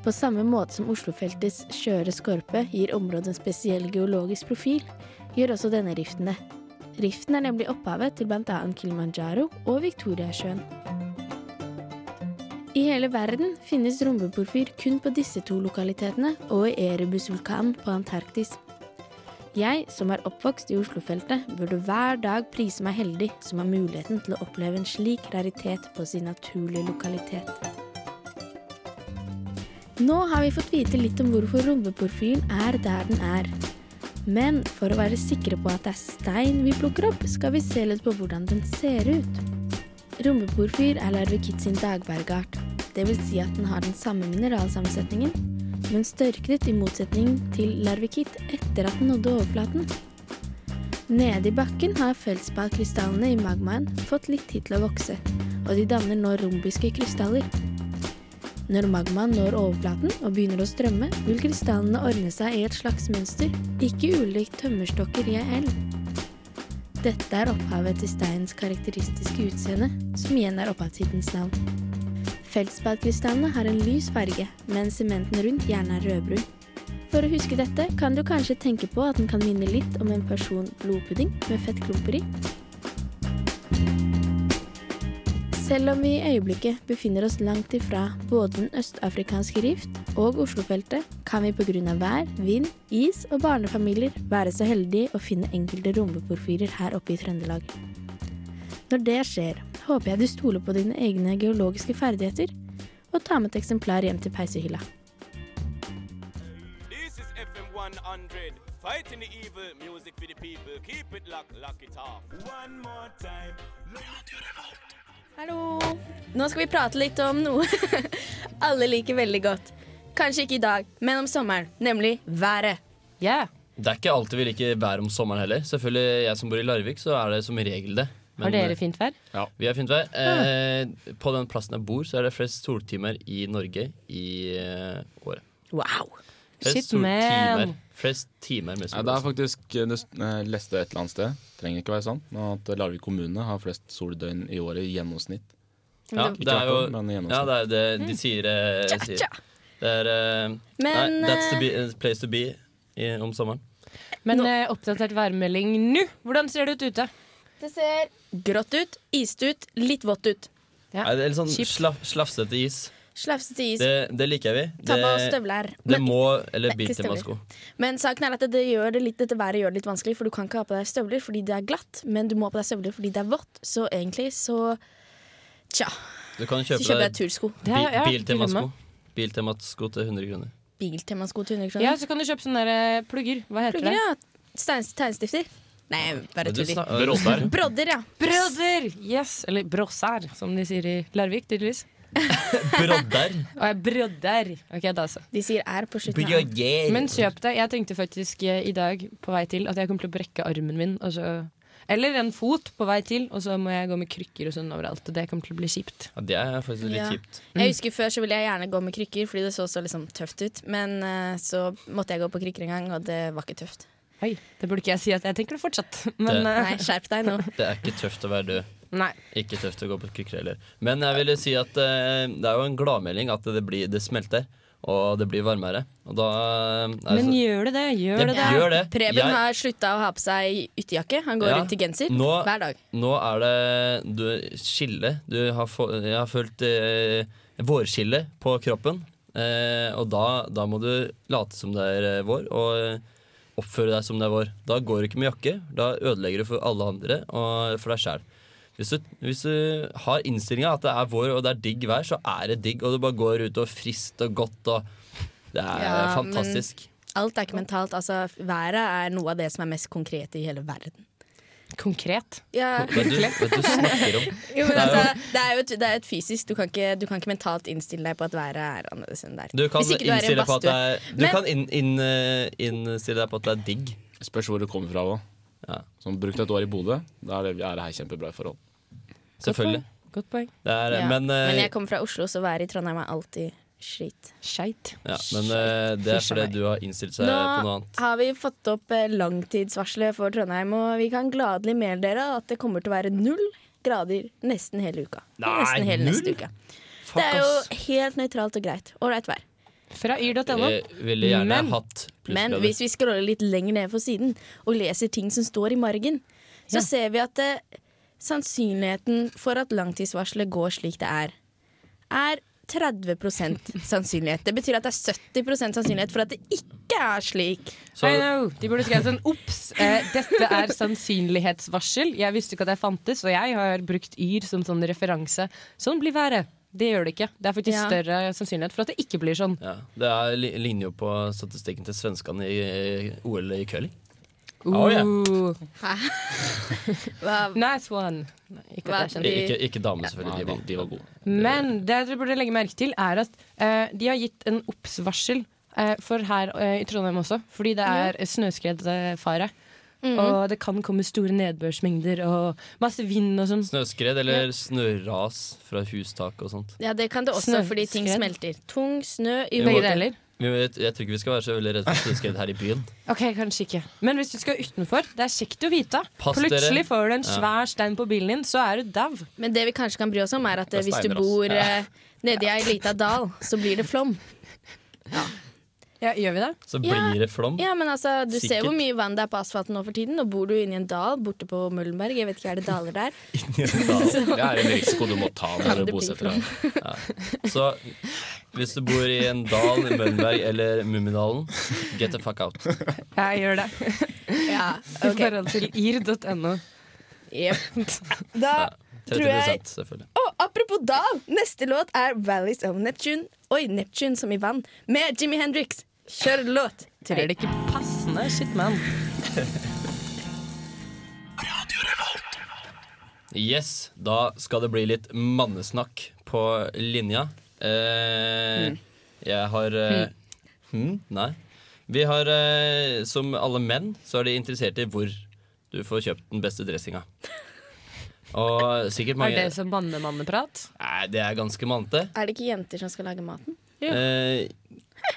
S1: På samme måte som Oslofeltets skjøre skorpe gir området en spesiell geologisk profil, gjør også denne riften det. Riften er nemlig opphavet til bl.a. Kilimanjaro og Viktoriasjøen. I hele verden finnes rombeporfyr kun på disse to lokalitetene og i Erebus-vulkanen på Antarktis. Jeg, som er oppvokst i Oslofeltet, burde hver dag prise meg heldig som har muligheten til å oppleve en slik raritet på sin naturlige lokalitet. Nå har vi fått vite litt om hvorfor rombeporfyren er der den er. Men for å være sikre på at det er stein vi plukker opp, skal vi se litt på hvordan den ser ut. Rombeporfyr er Larvikit sin dagbergart. Det vil si at den har den samme mineralsammensetningen, men størknet i motsetning til larvikit etter at den nådde overflaten. Nede i bakken har feldsparkrystallene i magmaen fått litt tid til å vokse, og de danner nå rombiske krystaller.
S3: Når magmaen når overflaten og begynner å strømme, vil krystallene ordne seg i et slags mønster, ikke ulikt tømmerstokker i ei elv. Dette er opphavet til steinens karakteristiske utseende, som igjen er opphavsidens navn. Feldspattkrystallene har en lys farge, mens sementen rundt gjerne er rødbrun. For å huske dette kan du kanskje tenke på at den kan minne litt om en porsjon blodpudding med fettklumper i. Selv om vi i øyeblikket befinner oss langt ifra både den østafrikanske rift og Oslofeltet, kan vi pga. vær, vind, is og barnefamilier være så heldige å finne enkelte rombeporfyrer her oppe i Trøndelag. Når det skjer, håper jeg du stoler på dine egne geologiske ferdigheter og tar med et eksemplar hjem til peisehylla.
S9: This is FM 100. Fighting the evil, music for the people. Keep it locked, lock it off. One more time.
S1: Hallo. Nå skal vi prate litt om noe alle liker veldig godt. Kanskje ikke i dag, men om sommeren. Nemlig været.
S7: Yeah.
S5: Det er ikke alltid vi liker vær om sommeren heller. Selvfølgelig, jeg som bor i Larvik, så er det som regel det.
S7: Har dere fint vær?
S5: Vi har fint vær. Eh, på den plassen jeg bor, så er det flest soltimer i Norge i eh, året.
S7: Wow.
S5: Flest
S7: Shit, man.
S5: soltimer. Flest timer med
S6: Nei,
S5: sol. altså.
S6: det er faktisk det, jeg leste et eller annet sted, trenger ikke være sant, men at Larvik kommune har flest soldøgn i året i gjennomsnitt.
S5: ja, det er jo
S6: Ikke akkurat, men i gjennomsnitt.
S5: ja, det er det
S1: Mm.
S5: de sier. eh, sier. Det er eh,
S1: Men,
S5: nei, That's the
S1: eh,
S5: be, eh, place to be i, om sommeren.
S7: Men eh, oppdatert værmelding nå! Hvordan ser det ut ute?
S1: Det ser grått ut, ist ut, litt vått ut.
S7: Ja.
S5: Nei, det er litt sånn
S7: Kjipt.
S5: slaff, slafsete is.
S1: Slafsete is.
S5: Det, det liker vi.
S1: Ta på oss
S5: Det,
S1: støvler.
S5: det
S1: Men,
S5: må Eller
S1: Nei, ikke
S5: biltemasko.
S1: men saken er at det gjør det litt, dette været gjør det litt vanskelig, for du kan ikke ha på deg støvler fordi det er glatt, men du må ha på deg støvler fordi det er vått. Så egentlig så Tja.
S5: Du kan
S1: Så
S5: kjøpe
S1: kjøper jeg
S5: deg
S1: tursko.
S7: Det er- ja,
S5: bi- biltemasko.
S7: dilemma.
S5: Biltemasko til 100 kroner.
S1: Biltemasko til 100
S7: Ja,
S1: kroner.
S7: så kan du kjøpe sånne der, eh, plugger. Hva heter
S1: Plugger, ja. Steins- Tegnestifter. Nei, bare
S5: Du
S1: tuller.
S5: snak-
S6: Bråsær.
S1: Brodder, ja.
S7: det? Brøder! Yes! Eller brossær, som de sier i Larvik, tydeligvis.
S5: Brodder.
S7: Og jeg brødder. Ok, da så.
S1: De sier er på slutten. av-
S5: Brodder.
S7: Men kjøp deg. Jeg tenkte faktisk eh, i dag på vei til at jeg kommer til å brekke armen min. Og så, eller en fot på vei til, og så må jeg gå med krykker og sånn overalt. Og det kommer til å bli kjipt.
S5: Ja, det er faktisk litt
S1: Ja.
S5: kjipt.
S1: Jeg husker Før så ville jeg gjerne gå med krykker, fordi det så så liksom tøft ut. Men eh, så måtte jeg gå på krykker en gang, og det var ikke tøft.
S7: Oi, det burde ikke jeg si at jeg tenker det fortsatt. Men
S1: Nei,
S7: eh,
S1: skjerp deg nå.
S5: Det er ikke tøft å være død.
S7: nei.
S5: Ikke tøft å gå på krykker heller. Men jeg ville si at eh, det er jo en gladmelding at det, blir, det smelter, og det blir varmere. Og da eh, er
S7: Men
S5: så-
S7: gjør det det? Gjør det det?
S5: Ja, gjør det.
S1: Preben
S5: Jeg-
S1: har slutta å ha på seg ytterjakke. Han går
S5: Ja.
S1: rundt i genser
S5: Nå-
S1: hver dag.
S5: Nå er det du, skille. Du har få, jeg har følt eh, vårskille på kroppen. Eh, og da, da må du late som det er eh, vår, og eh, oppføre deg som det er vår. Da går du ikke med jakke. Da ødelegger du for alle andre og for deg sjæl. Hvis, du- hvis du har innstillinga at det er vår og det er digg vær, så er det digg. Og du bare går ut og frist og godt og Det er
S1: Ja, men-
S5: fantastisk.
S1: Alt er ikke mentalt. Altså, været er noe av det som er mest konkret i hele verden.
S7: Konkret.
S1: Ja,
S5: Hva du, hva du snakker om.
S1: jo, men
S5: Det er jo-
S1: altså, det er jo et, det er et fysisk. Du kan, ikke, du kan ikke mentalt innstille deg på at været er annerledes enn det er.
S5: Du kan
S1: Hvis ikke du er i
S5: innstille
S1: en
S5: deg på at det
S1: badstue.
S5: er, du
S1: Men-
S5: kan inn, inn, eh, innstille deg på at det er digg.
S6: Spørs hvor det kommer fra òg.
S5: Ja.
S6: Som brukt et år i Bodø, da er det, er det her kjempebra i forhold.
S5: Selvfølgelig.
S7: Godt poeng.
S5: Det er,
S1: Ja.
S5: Men, eh,
S1: Men jeg kommer fra Oslo, så været i Trondheim er alltid skit.
S7: Skeit.
S5: ja, men eh, det er
S7: Fysj a
S5: fordi
S7: meg.
S5: du har innstilt seg på noe
S1: Nå
S5: annet.
S1: har vi fått opp eh, langtidsvarselet for Trondheim, og vi kan gladelig melde dere at det kommer til å være null grader nesten hele uka.
S5: Nei,
S1: nesten hele
S5: null?
S1: neste uke.
S5: Fuck,
S1: Det er jo
S5: ass.
S1: helt nøytralt og greit. Ålreit vær.
S7: Fra yr.no.
S5: Jeg ville gjerne
S7: Men-
S5: hatt
S1: Men
S5: plussgrader.
S1: hvis vi scroller litt lenger ned på siden og leser ting som står i margen, så
S7: Ja.
S1: ser vi at eh, sannsynligheten for at langtidsvarselet går slik det er, er 30 sannsynlighet. Det betyr at det er 70 sannsynlighet for at det ikke er slik.
S5: Så
S7: I know. De burde skrevet sånn Ops, eh, dette er sannsynlighetsvarsel. Jeg visste ikke at det fantes, og jeg har brukt yr som sånn referanse. Sånn blir været. Det gjør det ikke. Det er faktisk
S1: Ja.
S7: større sannsynlighet for at det ikke blir sånn.
S5: ja, det er li- ligner jo på statistikken til svenskene i eh, OL i curling. Oh, ja.
S7: Ooh.
S1: Hva,
S7: Nice one. Nei, ikke at jeg
S1: Hva-
S7: kjenner.
S5: I- Ikke, ikke dame,
S6: Nei,
S5: selvfølgelig.
S6: de,
S5: de
S6: de var gode.
S7: Men det dere burde legge merke til, er at eh, de har gitt en obs-varsel eh, for her eh, i Trondheim også. Fordi det er snøskredfare. Og det kan komme store nedbørsmengder og masse vind og sånn.
S5: Snøskred eller snøras fra hustak og sånt.
S1: Ja, det kan det også,
S7: Snø-
S1: fordi ting
S7: skred.
S1: smelter. Tung snø i
S5: Begge
S1: våken.
S7: deler.
S5: Men jeg, jeg tror ikke vi skal være så veldig redde for snøskred her i byen.
S7: Ok, kanskje ikke Men hvis du skal utenfor, det er kjekt å vite.
S5: Pass dere.
S7: Plutselig får du en
S5: Ja.
S7: svær stein på bilen din, så er du dau.
S1: Men det vi kanskje kan bry oss om, er at
S5: Det
S1: eh,
S5: er
S1: hvis du
S5: steiner, ass.
S1: bor eh, nedi ei lita dal, så blir det flom.
S7: Ja, gjør vi det?
S5: Så
S1: Ja.
S5: blir det flom.
S1: Ja, men altså, Du ser
S5: Sikkert.
S1: hvor mye vann det er på asfalten nå for tiden. Og bor du inni en dal borte på Møllenberg, jeg vet ikke, er det daler der?
S6: Det er en risiko du må ta
S1: Ja,
S6: når
S1: det
S6: du
S1: blir
S6: bosetter deg.
S5: Så hvis du bor i en dal i Møllenberg eller Mummidalen, get the fuck out.
S7: Jeg gjør det.
S1: Ja,
S7: I forhold til ir.no.
S11: Da Tror
S5: 30
S11: jeg-
S5: selvfølgelig.
S11: Og apropos dal, neste låt er 'Valleys of Neptune'. Oi, Neptune som i vann. Med Jimmy Hendrix. Kjør låt.
S7: Er det ikke passende? Shit, man.
S5: Yes, da skal det bli litt mannesnakk på linja. Eh,
S7: Mm.
S5: Jeg har eh, hm, Nei. Vi har, eh, som alle menn, så er de interessert i hvor du får kjøpt den beste dressinga. Og sikkert
S7: Er
S5: mange
S7: det som mannemanneprat?
S5: Nei, det er ganske mannete.
S1: Er det ikke jenter som skal lage maten?
S5: Eh,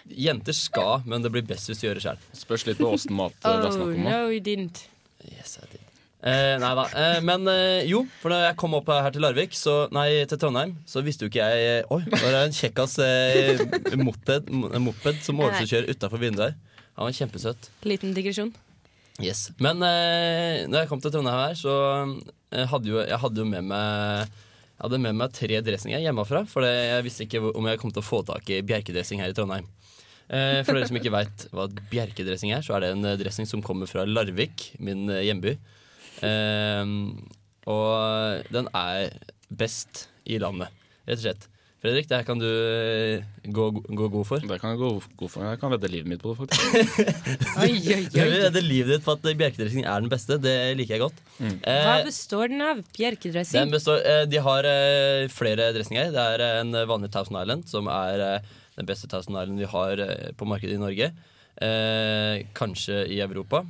S5: jenter skal, men det blir best hvis du gjør det sjøl.
S6: Spørs litt på åssen mat eh, det er snakk om. da.
S7: Oh, you didn't.
S5: Yes, I did. Eh, nei da. Eh, men eh, jo, for når jeg kom opp her til Larvik så, Nei, til Trondheim, så visste jo ikke jeg eh, Oi, det var en kjekkas eh, moped, mo- moped som overkjører utafor vinduet her. Han var kjempesøt.
S7: Liten digresjon.
S5: Yes. Men eh, når jeg kom til Trondheim her, så eh, hadde jo, jeg hadde jo med meg jeg hadde med meg tre dressinger hjemmefra, for det- jeg visste ikke hvor- om jeg kom til å få tak i bjerkedressing her i Trondheim. Eh, for dere som ikke veit hva bjerkedressing er, så er det en eh, dressing som kommer fra Larvik, min eh, hjemby. Eh, og den er best i landet, rett og slett. Fredrik, det her kan du eh, gå, gå god for.
S6: Det kan jeg gå god for. Jeg kan vedde livet mitt på det, faktisk.
S7: Oi,
S5: Jeg
S7: oi,
S5: vil redde livet ditt på at eh, bjerkedressing er den beste. Det liker jeg godt.
S7: Hva
S5: Eh,
S7: består den av?
S5: Den
S7: Bjerkedressing?
S5: består, eh, de har eh, flere dressinger. Det er eh, en vanlig Thousand Island, som er eh, den beste Thousand Island vi har eh, på markedet i Norge. Eh, kanskje i Europa.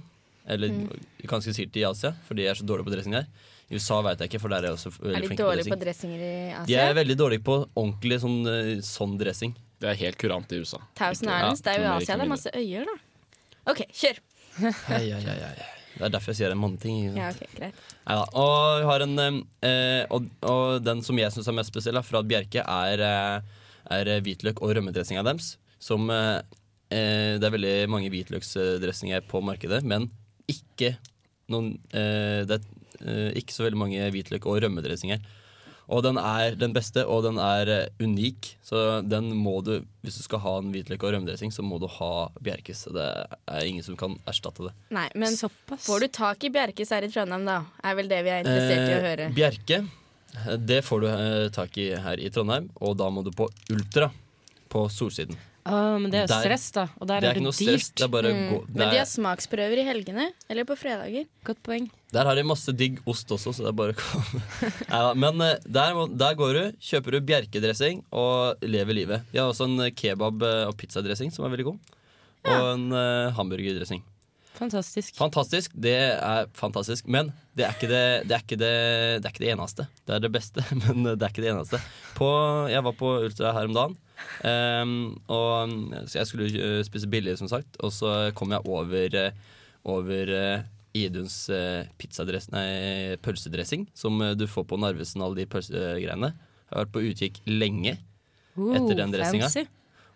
S5: Eller
S1: Mm.
S5: kanskje sikkert i Asia, for de er så dårlige på dressing her. I USA veit jeg ikke, for der er de også
S1: Er
S5: veldig
S1: de
S5: flinke på
S1: dårlige på
S5: dressing.
S1: dressinger i
S5: De
S1: Asia?
S5: er veldig dårlige på ordentlig sånn, eh, sånn dressing.
S6: Det er helt kurant i USA.
S1: Thousand
S6: Ikke-
S1: Islands, det er jo i
S6: Ja,
S1: Asia. Det er masse øyer, da. OK, kjør.
S5: Hei, hei, hei, hei. Det er derfor jeg sier det er manneting. ikke sant?
S1: Ja, ok, greit.
S5: Neida. Og, vi har en, eh, og, og den som jeg syns er mest spesiell, da, fra Bjerke, er, eh, er hvitløk og rømmedressinga deres. Som eh, eh, Det er veldig mange hvitløksdressinger på markedet, men ikke noen eh, Det er eh, ikke så veldig mange hvitløk- og rømmedressinger. Og den er den beste, og den er eh, unik. Så den må du, hvis du skal ha en hvitløk- og rømmedressing, så må du ha Bjerkes. Det er ingen som kan erstatte det.
S1: Nei, men
S7: Såpass.
S1: får du tak i Bjerkes her i Trondheim, da? Er vel det vi er interessert i å
S5: Eh,
S1: høre.
S5: Bjerke, eh, det får du eh, tak i her i Trondheim, og da må du på Ultra på Solsiden.
S7: Å, men det er jo
S5: Der.
S7: stress, da. Og der
S5: det er ikke
S7: er det
S5: noe stress,
S7: dyrt.
S5: det er bare å gå.
S1: Men de
S5: Der,
S1: har smaksprøver i helgene, eller på fredager.
S7: Godt poeng.
S5: der har de masse digg ost også, så det er bare å komme. Neida, men eh, der, må, der går du, kjøper du Bjerke-dressing og lever livet. De har også en eh, kebab- og pizzadressing som er veldig god, og en eh, hamburgerdressing.
S7: Fantastisk.
S5: Fantastisk, det er fantastisk. Men det er, ikke det, det, er ikke det, det er ikke det eneste. Det er det beste, men det er ikke det eneste. På, jeg var på Ultra her om dagen. ehm, og um, så jeg skulle eh, spise billig, som sagt. Og så kom jeg over, eh, over eh, Iduns eh, pizzadress- nei, pølsedressing, som eh, du får på Narvesen, alle de pølsegreiene. Jeg har vært på utkikk lenge.
S7: Oh,
S5: etter den dressinga.
S7: fancy.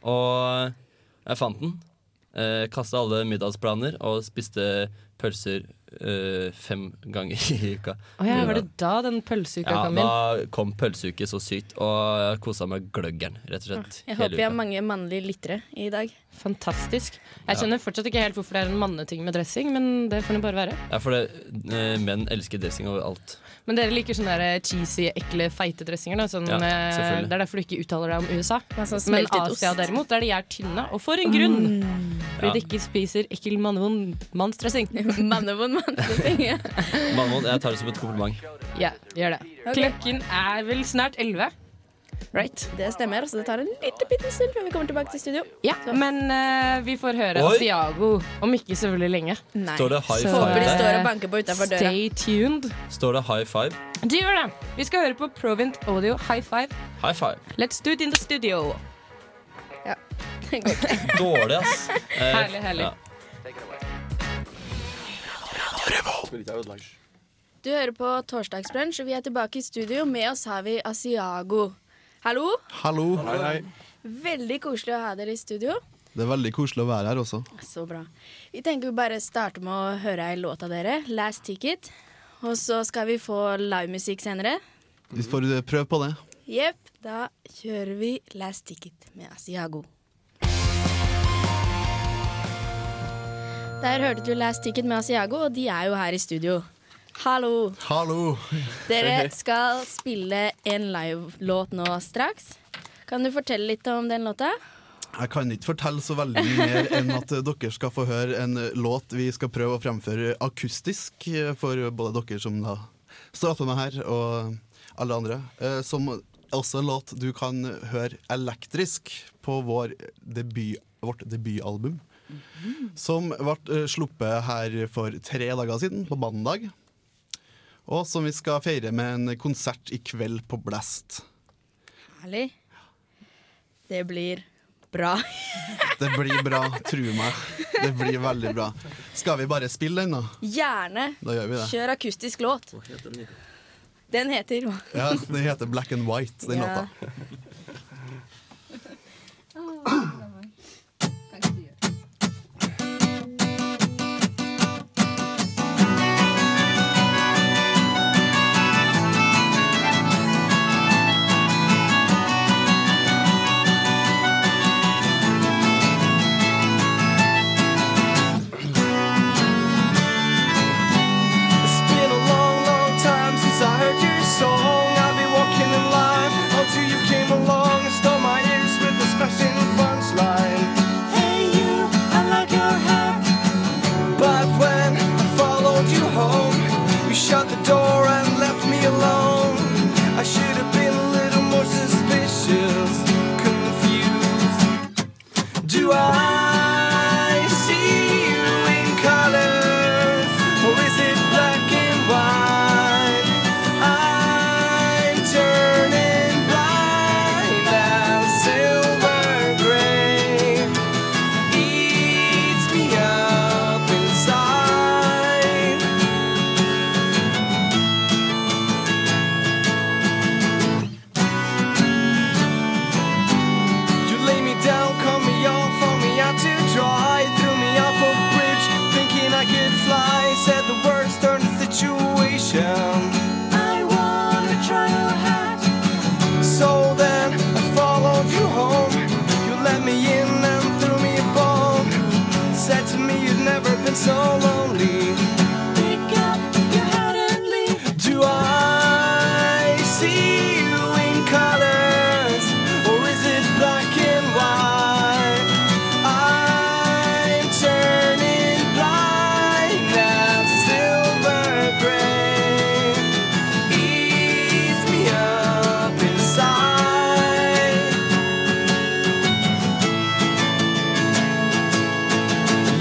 S5: Og jeg fant den. Eh, Kasta alle middagsplaner og spiste pølser eh, fem ganger i uka.
S7: Å ja, var det da den pølseuka
S5: Ja,
S7: kom inn?
S5: da kom pølseuke så sykt, og jeg kosa meg gløggeren, rett og slett.
S1: Jeg
S5: hele
S1: håper vi har
S5: uka.
S1: mange mannlige lyttere i dag.
S7: Fantastisk. Jeg skjønner fortsatt ikke helt hvorfor det er en manneting med dressing, men det får det bare være.
S5: Ja, for det, eh, menn elsker dressing overalt.
S7: Men dere liker sånne der eh, cheesy, ekle, feite dressinger. Da. Sånn,
S5: Ja,
S7: eh,
S5: selvfølgelig.
S7: det er derfor du ikke uttaler deg om USA.
S1: Men sånn
S7: Men
S1: smeltet
S7: Asia
S1: ost. Mm.
S7: derimot, der de er tynne. Og for en grunn!
S5: Ja.
S7: Fordi de ikke spiser ekkel mannevond mannsdressing.
S1: Mannevond manneting. Ja.
S5: Mannen, jeg tar det som et kompliment.
S7: Ja, gjør det. Klokken er vel snart elleve.
S11: Right. Det stemmer. Så det tar en liten bitte stund før vi kommer tilbake til studio.
S7: Ja, men eh, vi får høre
S11: Oi.
S7: Asiago om ikke så veldig lenge.
S11: Nei.
S5: Står det high
S7: Så-
S5: five Håper de
S11: står og banker på utenfor døra.
S7: Stay tuned.
S5: Står det high five?
S7: De gjør det. Vi skal høre på Provint Audio High Five.
S5: High five.
S7: Let's do it in the studio.
S11: Ja.
S5: Dårlig, ass. Eh,
S7: Herlig, herlig.
S5: ja.
S1: Du hører på Torsdagsbrunsj, og vi er tilbake i studio. Med oss har vi Asiago. Hallo.
S12: Hallo.
S1: Veldig koselig å ha dere i studio.
S12: Det er veldig koselig å være her også.
S1: Så bra. Vi tenker vi bare starter med å høre ei låt av dere, 'Last Ticket'. Og så skal vi få livemusikk senere.
S12: Vi får eh, prøve på det.
S1: Jepp, da kjører vi 'Last Ticket' med Asiago. Der hørte du 'Last Ticket' med Asiago, og de er jo her i studio. Hallo.
S12: Hallo!
S1: Dere skal spille en live-låt nå straks. Kan du fortelle litt om den låta?
S12: Jeg kan ikke fortelle så veldig mye mer enn at eh, dere skal få høre en eh, låt vi skal prøve å fremføre akustisk eh, for både dere som da står attmed meg her, og alle andre. eh, Som også en låt du kan høre elektrisk på vår debut, vårt debutalbum. Som ble eh, sluppet her for tre dager siden, på mandag. Og som vi skal feire med en konsert i kveld på Blast.
S1: Herlig. Det blir bra.
S12: Det blir bra, tro meg. Det blir veldig bra. Skal vi bare spille den, da?
S1: Gjerne.
S12: Da gjør vi det.
S1: Kjør akustisk låt. Den heter
S12: Ja, Den heter Black and White, den
S1: Ja.
S12: låta.
S13: It's been a long, long time since I heard your song. I've been walking in line until you came along and stole my ears with a special punchline. Hey you, I like your hat. But when I followed you home, you shut the door and left me alone. I should have been a little more suspicious, confused. Do I see you in colors, or is it black and white? I'm turning blind as silver gray eats me up inside. You lay me down, cut me off, hung me out to dry. Threw me off a bridge, thinking I could fly. Said the words, turned the situation. I wanna try your hat. So then I followed you home. You let me in and threw me a bone. Said to me you'd never been so lonely. Pick up your hat and leave. Do I see you in colors? Or is it black and white? I'm turning blind as silver gray eats me up inside.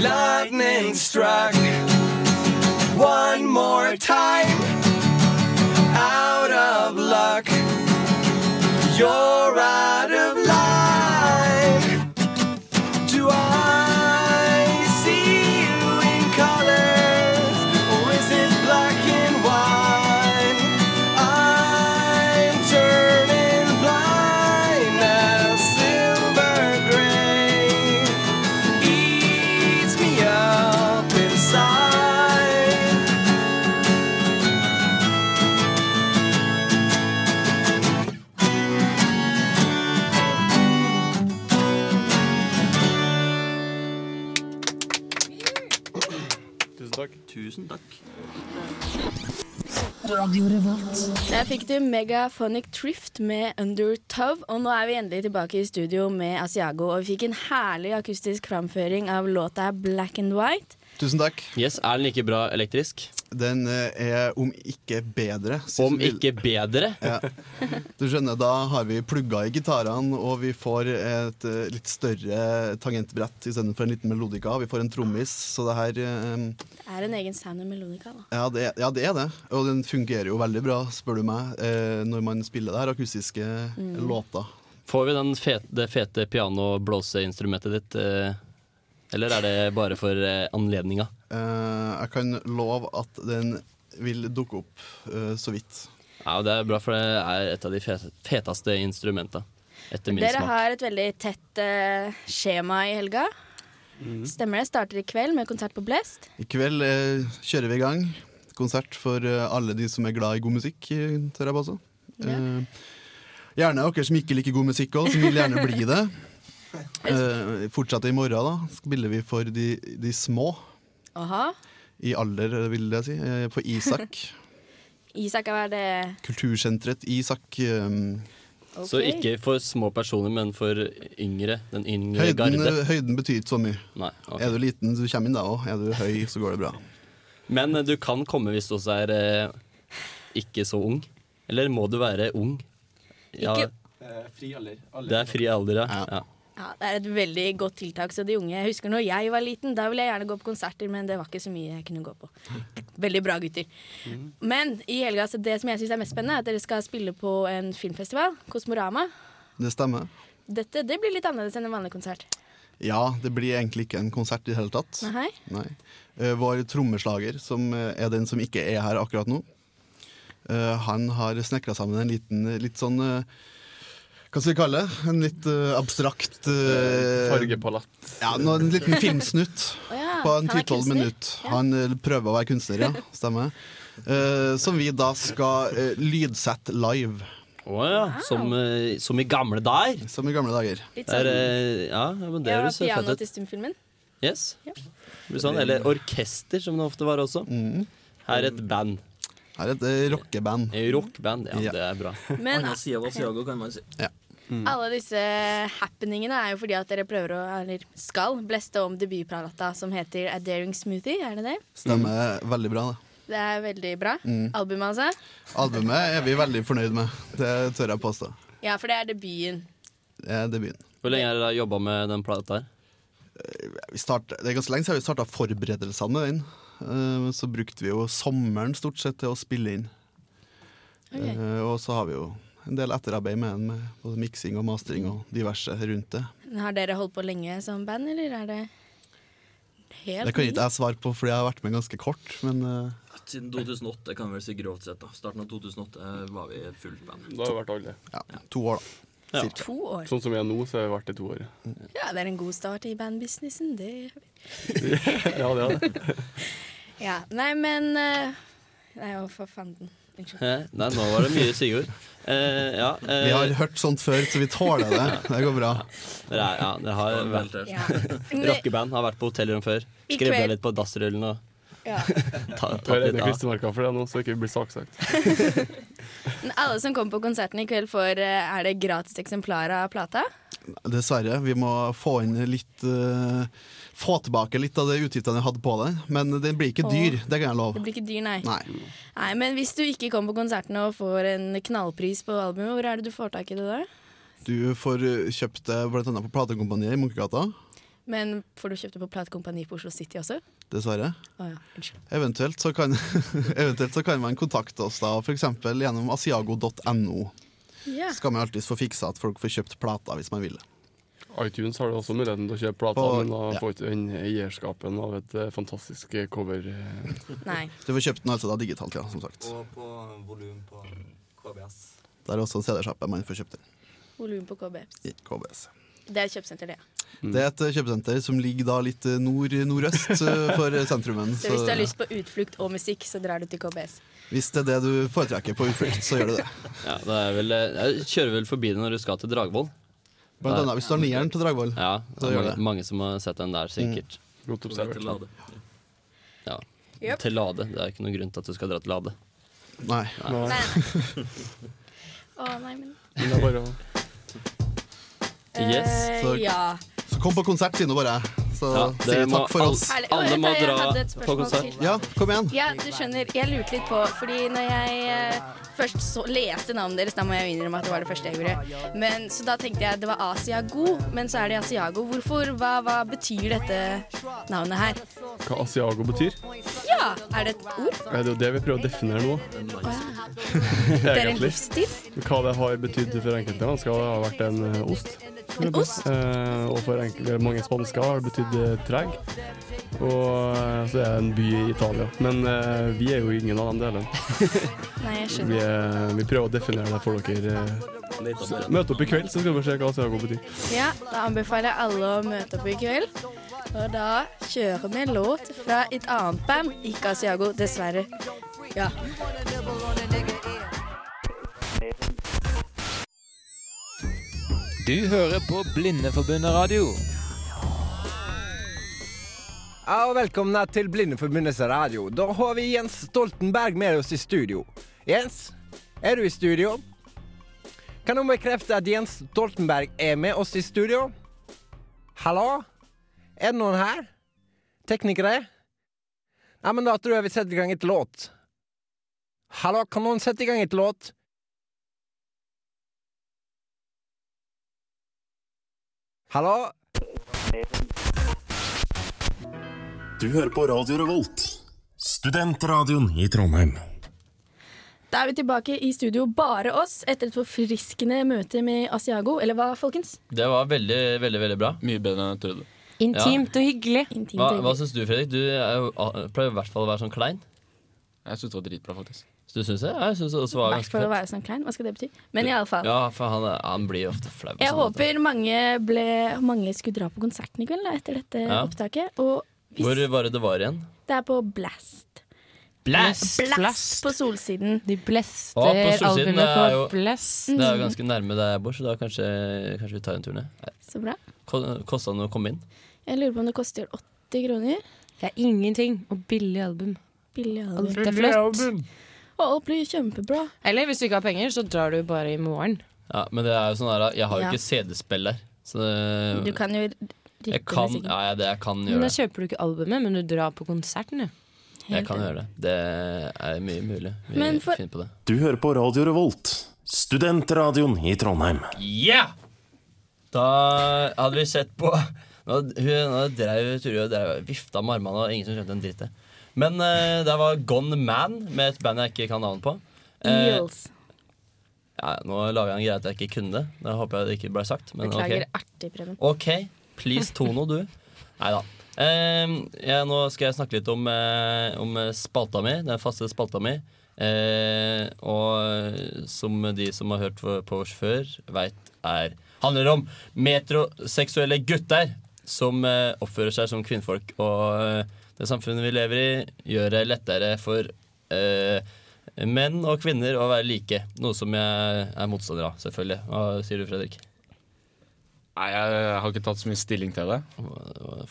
S13: Lightning struck one more time. Out of luck, you're out of line. Do I see you in colors, or is it black and white? I'm turning blind as silver gray eats me up inside.
S2: Tusen takk. Tusen takk.
S1: Radio Revolt. Der fikk du Megaphonic Trift med Under Tove, og nå er vi endelig tilbake i studio med Asiago. Og vi fikk en herlig akustisk framføring av låta Black and White.
S12: Tusen takk.
S5: Yes, Er den like bra elektrisk?
S12: Den eh, er om ikke bedre.
S5: Om ikke bedre?
S12: Ja. Du skjønner, da har vi plugga i gitarene, og vi får et eh, litt større tangentbrett istedenfor en liten melodika. Vi får en trommis, så det her eh,
S13: Det er en egen sound and melodica, da.
S12: ja det, er, ja, det er det. Og den fungerer jo veldig bra, spør du meg, eh, når man spiller det her akustiske
S5: Mm.
S12: låter.
S5: Får vi den fete, det fete piano-blåseinstrumentet ditt? eh, Eller er det bare for eh, anledninga?
S12: Eh, jeg kan love at den vil dukke opp eh, så vidt.
S5: Ja, det er bra, for det er et av de fete- feteste instrumenta. Etter min
S1: Dere
S5: smak.
S1: har et veldig tett eh, skjema i helga.
S5: Mm.
S1: Stemmer det? Starter i kveld med konsert på Blest.
S12: I kveld eh, kjører vi i gang. Konsert for eh, alle de som er glad i god musikk, eh, tør jeg påstå. Eh, gjerne dere som ikke liker god musikk òg, som vil gjerne bli det. Eh, fortsette i morgen, da. Spiller vi for de, de små.
S1: Aha.
S12: I alder, eh, vil jeg si. eh, På Isak.
S1: Isak er det
S12: Kultursenteret Isak. eh,
S5: Så ikke for små personer, men for yngre. Den yngre
S12: høyden, eh,
S5: garde.
S12: høyden betyr ikke så mye.
S5: Nei, ok.
S12: Er du liten, så kommer inn da òg. Er du høy, så går det bra.
S5: Men eh, du kan komme hvis du også er eh, ikke så ung. Eller må du være ung?
S1: Ikke-
S14: Eh, Fri alder.
S5: Det er fri alder, ja. ja.
S1: Ja, det er et veldig godt tiltak, så de unge Jeg husker når jeg var liten, da ville jeg gjerne gå på konserter, men det var ikke så mye jeg kunne gå på. Veldig bra gutter.
S5: Mm.
S1: Men i helga, så det som jeg syns er mest spennende, er at dere skal spille på en filmfestival, Kosmorama.
S12: Det stemmer.
S1: Dette det blir litt annerledes enn en vanlig konsert.
S12: Ja, det blir egentlig ikke en konsert i det hele tatt.
S1: Nei?
S12: Nei. Eh, Vår trommeslager, som eh, er den som ikke er her akkurat nå, eh, han har snekra sammen en liten, eh, litt sånn eh, Hva skal vi kalle det? En litt eh, abstrakt eh,
S15: Fargepalett.
S12: Ja, nå, en liten filmsnutt
S1: Å ja,
S12: på
S1: han
S12: en
S1: er
S12: 10-12
S1: kunstner.
S12: minutter. Han eh, prøver å være kunstner, ja. Stemmer. Eh, som vi da skal eh, lydsette live.
S5: Å ja. Som, eh, som i gamle dager.
S12: Som i gamle dager.
S1: Litt
S5: Det er,
S1: sånn-
S5: eh, ja, ja, men det
S1: Jeg var
S5: høres fett
S1: piano
S5: ut.
S1: til stumfilmen.
S5: Yes.
S1: Ja.
S5: Det blir Sånn, eller orkester, som det ofte var også. Her et band.
S12: Her et eh, rockeband.
S5: Rockband, ja, Det er bra.
S1: Men-
S14: Anna sida av Asiago, kan man si.
S12: Ja.
S16: Mm.
S1: Alle disse happeningene er jo fordi at dere prøver å, eller skal, bleste om debutplata som heter A Daring Smoothie, er det det?
S12: Stemmer veldig bra, det.
S1: Det er veldig bra.
S12: Mm.
S1: Albumet, altså.
S12: Albumet er vi veldig fornøyd med. Det tør jeg påstå.
S1: Ja, for det er debuten.
S12: Det er debuten.
S5: Hvor lenge har dere jobba med den plata her?
S12: Vi start, det er ganske lenge siden vi starta forberedelsene med den. Eh, Så brukte vi jo sommeren stort sett til å spille inn.
S1: Ok.
S12: Eh, Og så har vi jo en del etterarbeid med den, med både miksing og mastring og diverse rundt det.
S1: Har dere holdt på lenge som band, eller er det helt
S12: Det kan ikke
S1: ny?
S12: jeg svare på, fordi jeg har vært med ganske kort, men eh,
S14: Siden 2008, kan vi vel si grovt sett. da Starten av 2008 eh, var vi fullt band.
S16: Da har vi vært alle.
S12: To år, da.
S1: Cirka. To år.
S16: Sånn som vi er nå, så har vi vært i to år.
S1: Ja, det er en god start i bandbusinessen, det.
S16: ja, det er det.
S1: Ja, nei, men eh, Nei, å, for fanden. Unnskyld.
S5: Hæ? Nei, nå var det mye Sigurd. Eh, ja, eh,
S12: Vi har hørt sånt før, så vi tåler det. Det går bra.
S5: Dere, er, ja, dere har vært
S1: Ja.
S5: Rockeband har vært på hotellrom før.
S1: I
S5: Skribla
S1: kveld.
S5: litt på dassrullen og
S1: Ja.
S5: ta-
S16: Vi
S5: tatt
S16: har
S5: litt
S16: redde
S5: av.
S16: klistremerker for det nå, så ikke vi blir saksøkt.
S1: Men alle som kommer på konserten i kveld, får eh, Er det gratis eksemplarer av plata?
S12: Dessverre. Vi må få inn litt eh, Få tilbake litt av de utgiftene jeg hadde på det. Men den blir ikke
S1: Åh.
S12: dyr, det kan jeg
S1: Det
S12: love.
S1: blir ikke dyr, nei.
S12: Nei.
S1: Nei, Men hvis du ikke kommer på konserten og får en knallpris på albumet, hvor er det du får tak i det da?
S12: Du får eh, kjøpt det bl.a. på platekompaniet i Munkegata.
S1: Men får du kjøpt det på platekompani på Oslo City også?
S12: Dessverre.
S1: Å ja, unnskyld.
S12: Eventuelt så kan, eventuelt så kan man kontakte oss da f.eks. gjennom asiago.no.
S1: Ja.
S12: Så kan man alltids få fiksa at folk får kjøpt plata hvis man vil.
S16: iTunes har du også muligheten til å kjøpe plata,
S12: På-
S16: men da
S12: ja.
S16: får ikke den eierskapen av et eh, fantastisk eh, cover. eh.
S1: Nei.
S12: Du får kjøpt den altså da digitalt, ja, som sagt.
S14: Og på volum på KBS.
S12: Det er også en CD-sjappe man får kjøpt den
S1: Volum på KBS.
S12: i KBS.
S1: Det er kjøpesenter, det. ja.
S12: Det er et eh, kjøpesenter som ligger da litt eh, nord nordøst eh, for sentrumen.
S1: Så hvis du har lyst på utflukt og musikk, så drar du til KBS.
S12: hvis det er det du foretrekker på utflukt, så gjør du det.
S5: Ja, det er vel, eh, jeg kjører vel forbi det når du skal til Dragvoll.
S12: Blant
S5: Da-
S12: annet hvis du har nieren til Dragvoll.
S5: Ja,
S12: så
S5: det er
S12: gjør
S5: mange,
S12: det.
S5: mange som har sett den der, sikkert.
S16: Godt observert. Til Lade.
S5: Ja.
S1: Yep.
S5: Til Lade. Det er ikke noen grunn til at du skal dra til Lade.
S12: Nei.
S1: Nei, nei. Å, nei, men
S16: Men det er bare å
S1: Eh,
S12: Så,
S1: Ja. eh,
S12: så kom på konsert, sier nå bare jeg. Så
S5: Ja,
S12: sier
S5: dere
S12: vi
S5: må
S12: takk for
S5: alle-
S12: oss.
S5: alle Herlig. må
S1: Jeg hadde et spørsmål til.
S12: Ja, kom igjen.
S1: Ja, du skjønner, jeg lurte litt på Fordi når jeg eh, først så, leste navnet deres Da må jeg innrømme at det var det første jeg gjorde men, Så da tenkte jeg det var Asiago Men så er det Asiago Hvorfor, hva, hva betyr dette navnet her?
S16: Hva Asiago betyr?
S1: Ja, er det et ord?
S16: Det er jo det vi prøver å definere nå.
S1: Det er en
S16: Egentlig.
S1: livsstil
S16: Hva det har betydd for enkelte mennesker, det har vært en eh, ost.
S1: En ost?
S16: Eh, og for enkelte, mange spansker har det betydd eh, treg. Og eh, så er det en by i Italia. Men eh, vi er jo ingen av de delene.
S1: Nei, jeg
S16: vi,
S1: skjønner
S16: eh, vi prøver å definere det for dere. eh. Så Møt opp i kveld, så skal vi se hva Asiago betyr.
S1: Ja, da anbefaler jeg alle å møte opp i kveld Og da kjører vi en låt fra et annet band Ikke Asiago, dessverre Ja
S17: Du hører på Blindeforbundet radio. Ja, og velkomna til Blindeforbundets radio. Da har vi Jens Stoltenberg med oss i studio. Jens, er du i studio? Kan du bekrefte at Jens Stoltenberg er med oss i studio? Hallo? Er det noen her? Teknikere? Nei, men da tror jeg vi setter i gang et låt. Hallo, kan noen sette i gang et låt? Hallo?
S8: Du hører på Radio Revolt, studentradioen i Trondheim.
S3: Da er vi tilbake i studio, bare oss, etter et forfriskende møte med Asiago. Eller hva, folkens?
S5: Det var veldig, veldig veldig bra.
S6: Mye bedre enn jeg trodde.
S7: Intimt og hyggelig.
S5: Hva, hva syns du, Fredrik? Du er jo, a- pleier i hvert fall å være sånn klein.
S6: Jeg syns det var dritbra, faktisk.
S5: Så du syns det? Ja, jeg syns det også var
S1: Hvert
S5: ganske
S1: for å
S5: fett.
S1: være sånn klein, hva skal det bety? Men i alle fall
S5: Ja, for han, er- han blir jo ofte flau. Sånn på
S3: Jeg
S5: sånne måter.
S3: håper mange, ble, mange skulle dra på konserten i kveld da, etter dette
S5: Ja.
S3: opptaket. Og
S5: Hvor var det det var igjen?
S3: det er på Blast.
S5: Blast!
S3: Blast, på Solsiden.
S7: De bleste
S5: Å, på Solsiden,
S7: albumet
S5: det er
S7: på
S5: jo-
S7: Blast.
S5: Det er jo ganske nærme der jeg bor, så da kanskje, kanskje vi tar en tur ned. Nei.
S3: Så bra.
S5: Ko- Kosta det noe å komme inn?
S3: Jeg lurer på om det koster 80 kroner.
S7: Det er ingenting. Og billig album.
S3: Billig album.
S7: Alt er flott.
S3: Og alt blir kjempebra.
S7: Eller hvis du ikke har penger, så drar du bare i morgen.
S5: Ja, men det er jo sånn her, jeg har jo
S7: Ja.
S5: ikke CD-spill der. Så det,
S7: Du kan
S1: jo
S5: jeg kan, ja, ja, det jeg kan
S7: Men
S5: gjøre
S7: da
S5: det.
S7: kjøper du ikke albumet, men du drar på konserten, du.
S5: Jeg kan gjøre det. Det er mye mulig. Vi
S7: Men for-
S5: finner på det.
S8: Du hører på Radio Revolt, studentradioen i Trondheim.
S5: Yeah! Da hadde vi sett på Nå, hun nå drev Turi og drev, vifta med armene, og ingen som skjønte en dritt. det. Men eh, det var Gone Man med et band jeg ikke kan navnet på. Eh,
S3: Eels.
S5: ja, nå lager jeg en greie at jeg ikke kunne det. Da håper jeg det ikke ble sagt. Men, ok.
S3: Beklager artig, Preben.
S5: OK, please Tono, du. Nei da. jeg, nå skal jeg snakke litt om, eh, om spalta mi, den faste spalta mi. Eh, og eh, som de som har hørt på- på oss før, veit er Handler om metroseksuelle gutter som eh, oppfører seg som kvinnfolk. Og eh, det samfunnet vi lever i, gjør det lettere for eh, menn og kvinner å være like. Noe som jeg er motstander av, selvfølgelig. Hva sier du, Fredrik?
S6: Nei, jeg har ikke tatt så mye stilling til det.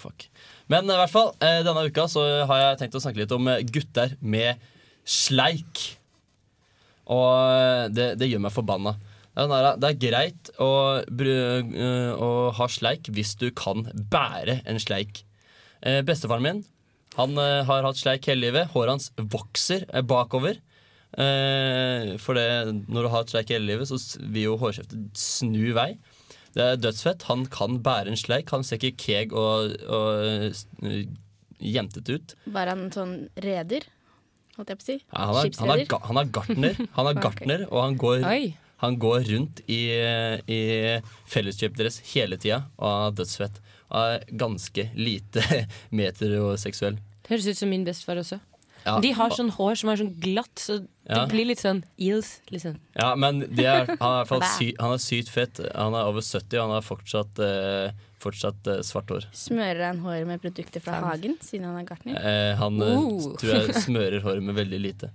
S5: Fuck. Men i hvert fall, eh, denne uka så har jeg tenkt å snakke litt om eh, gutter med sleik. Og eh, det, det gjør meg forbanna. Det er, den der, det er greit å, bru- eh, å ha sleik hvis du kan bære en sleik. Eh, Bestefaren min han eh, har hatt sleik hele livet. Håret hans vokser eh, bakover. Eh, for det, når du har hatt sleik hele livet, så s- vil jo hårkjeftet snu vei. Det er dødsfett. Han kan bære en sleik. Han ser ikke keeg og, og s- jentet ut.
S1: Var han sånn reder? Holdt jeg på å si?
S5: Ja, han, er, han, er,
S1: Skipsreder?
S5: ga- han er gartner, han er
S1: Ok.
S5: gartner og han går,
S1: Oi.
S5: han går rundt i, i felleskjøpt dress hele tida, og han har dødsfett. Han er ganske lite meteroseksuell.
S7: Det høres ut som min bestefar også.
S5: Ja.
S7: De har sånn hår som er sånn glatt, så det
S5: Ja.
S7: blir litt sånn eels, liksom.
S5: Ja, men det er, han er i hvert fall
S7: Bæ.
S5: sy, han er sykt fett. Han er over 70, og han har fortsatt, eh, fortsatt eh, svart hår.
S1: Smører han håret med produkter fra hagen, siden han er gartner?
S5: Eh, han eh,
S1: Oh.
S5: tror jeg smører håret med veldig lite.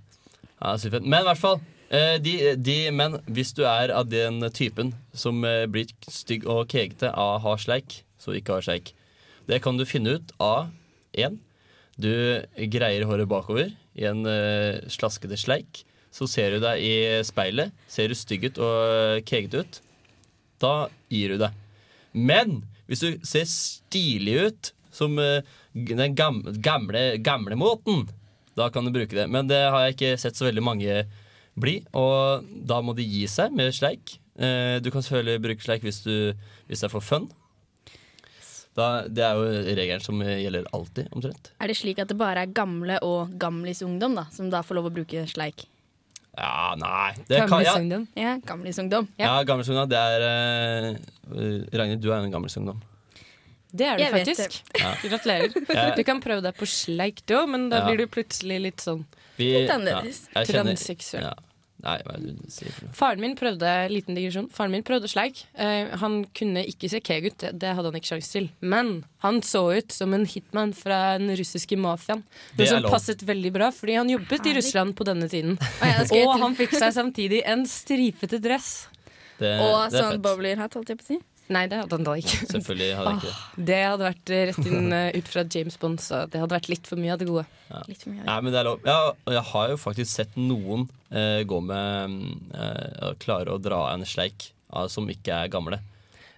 S5: Ja, sykt fett. Men i hvert fall. eh, De, de, men hvis du er av den typen som eh, blir stygg og kegete av å ha sleik, så ikke ha sleik. Det kan du finne ut av én. Du greier håret bakover i en eh, slaskete sleik. Så ser du deg i speilet. Ser du stygg ut og eh, kegete ut, da gir du deg. Men hvis du ser stilig ut, Som eh, g- den gam- gamle, gamle måten. Da kan du bruke det. Men det har jeg ikke sett så veldig mange bli. Og da må de gi seg med sleik. Eh, Du kan selvfølgelig bruke sleik hvis, du, hvis det er for fun. Da, det er jo regelen som gjelder alltid, omtrent.
S1: Er det slik at det bare er gamle og gamlisungdom da, som da får lov å bruke sleik?
S5: Ja, nei det kan, ja,
S1: Ja, gamlisungdom.
S5: ja, gammelsungdom. Det er eh, Ragnhild, du er jo en gammelsungdom.
S7: Det er du
S1: Jeg vet
S7: faktisk.
S5: det. Ja.
S7: Gratulerer.
S5: Jeg-
S7: Du kan prøve deg på sleik, du òg, men da
S5: Ja.
S7: blir du plutselig litt sånn
S5: Vi-
S7: litt annerledes.
S5: ja, jeg kjenner-
S7: Transseksuell.
S5: Ja. Nei, hva er det du sier for noe?
S7: Faren min prøvde liten digresjon Faren min prøvde sleik. Eh, han kunne ikke se keg ut, det- det hadde han ikke sjanse til. Men han så ut som en hitman fra den russiske mafiaen.
S5: Det
S7: Noe
S5: er
S7: som
S5: lov.
S7: passet veldig bra, fordi han jobbet i Russland på denne tiden.
S1: da skal jeg
S7: Og
S1: til-
S7: han fikk seg samtidig en stripete dress.
S5: Det,
S1: Og
S5: det er
S1: sånn
S5: fett.
S1: bowlerhatt, holdt jeg på å si.
S7: Nei, det hadde han da ikke.
S5: Selvfølgelig hadde jeg ikke det.
S1: Ah.
S7: Det hadde vært eh, rett inn eh, ut fra James Bond, så det hadde vært litt for mye av det gode.
S5: Nei, men det er lov. Ja, og jeg har jo faktisk sett noen eh, gå med mm, eh, og klare å dra en sleik av- som ikke er gamle.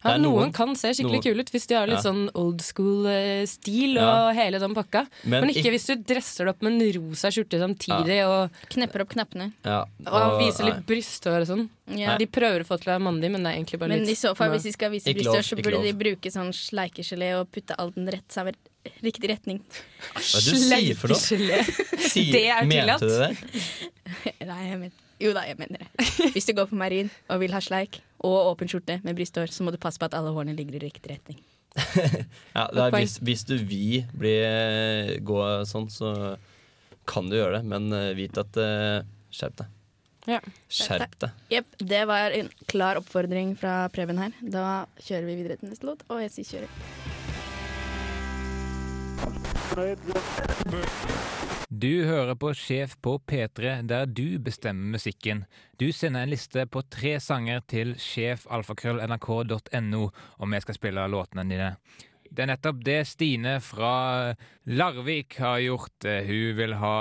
S7: Ja,
S5: Det er
S7: noen, kan se skikkelig
S5: noen-
S7: kule ut hvis de har litt
S5: Ja.
S7: sånn old school-stil
S5: Ja.
S7: og hele den pakka.
S5: Men
S7: Men, ikke
S5: ikk-
S7: hvis du dresser det opp med en rosa skjorte samtidig og
S1: Knepper opp knappene.
S5: Ja,
S7: Og, viser litt brysthår og sånn.
S1: Ja.
S7: De prøver å få til å være mandig, men det er egentlig bare
S1: Men
S7: litt
S1: i så fall,
S7: Nei.
S1: hvis de skal vise
S7: Ikke lov,
S1: bryststørst, så
S7: ikke
S1: burde
S7: lov.
S1: de bruke sånn sleikegelé og putte all den rett sammen riktig retning.
S5: Hva er det du sier for noe? Sier-
S1: Det er
S5: mente du
S1: tillatt.
S5: det?
S1: Nei, jeg men, jo da, jeg mener det. Hvis du går på marin og vil ha sleik og åpen skjorte med brysthår, så må du passe på at alle hårene ligger i riktig retning.
S5: Ja, det er,
S1: poeng.
S5: hvis, hvis du vil bli, gå sånn, så kan du gjøre det, men eh, vit at eh, Skjerp deg.
S7: Ja.
S5: Skjerp deg.
S1: Jepp, det var en klar oppfordring fra Preben her. Da kjører vi videre til neste låt, og jeg sier kjører.
S18: Du hører på Sjef på P3, der du bestemmer musikken. Du sender en liste på tre sanger til sjefalfakrøllnrk.no, og vi skal spille låtene dine. Det er nettopp det Stine fra Larvik har gjort. Eh, Hun vil ha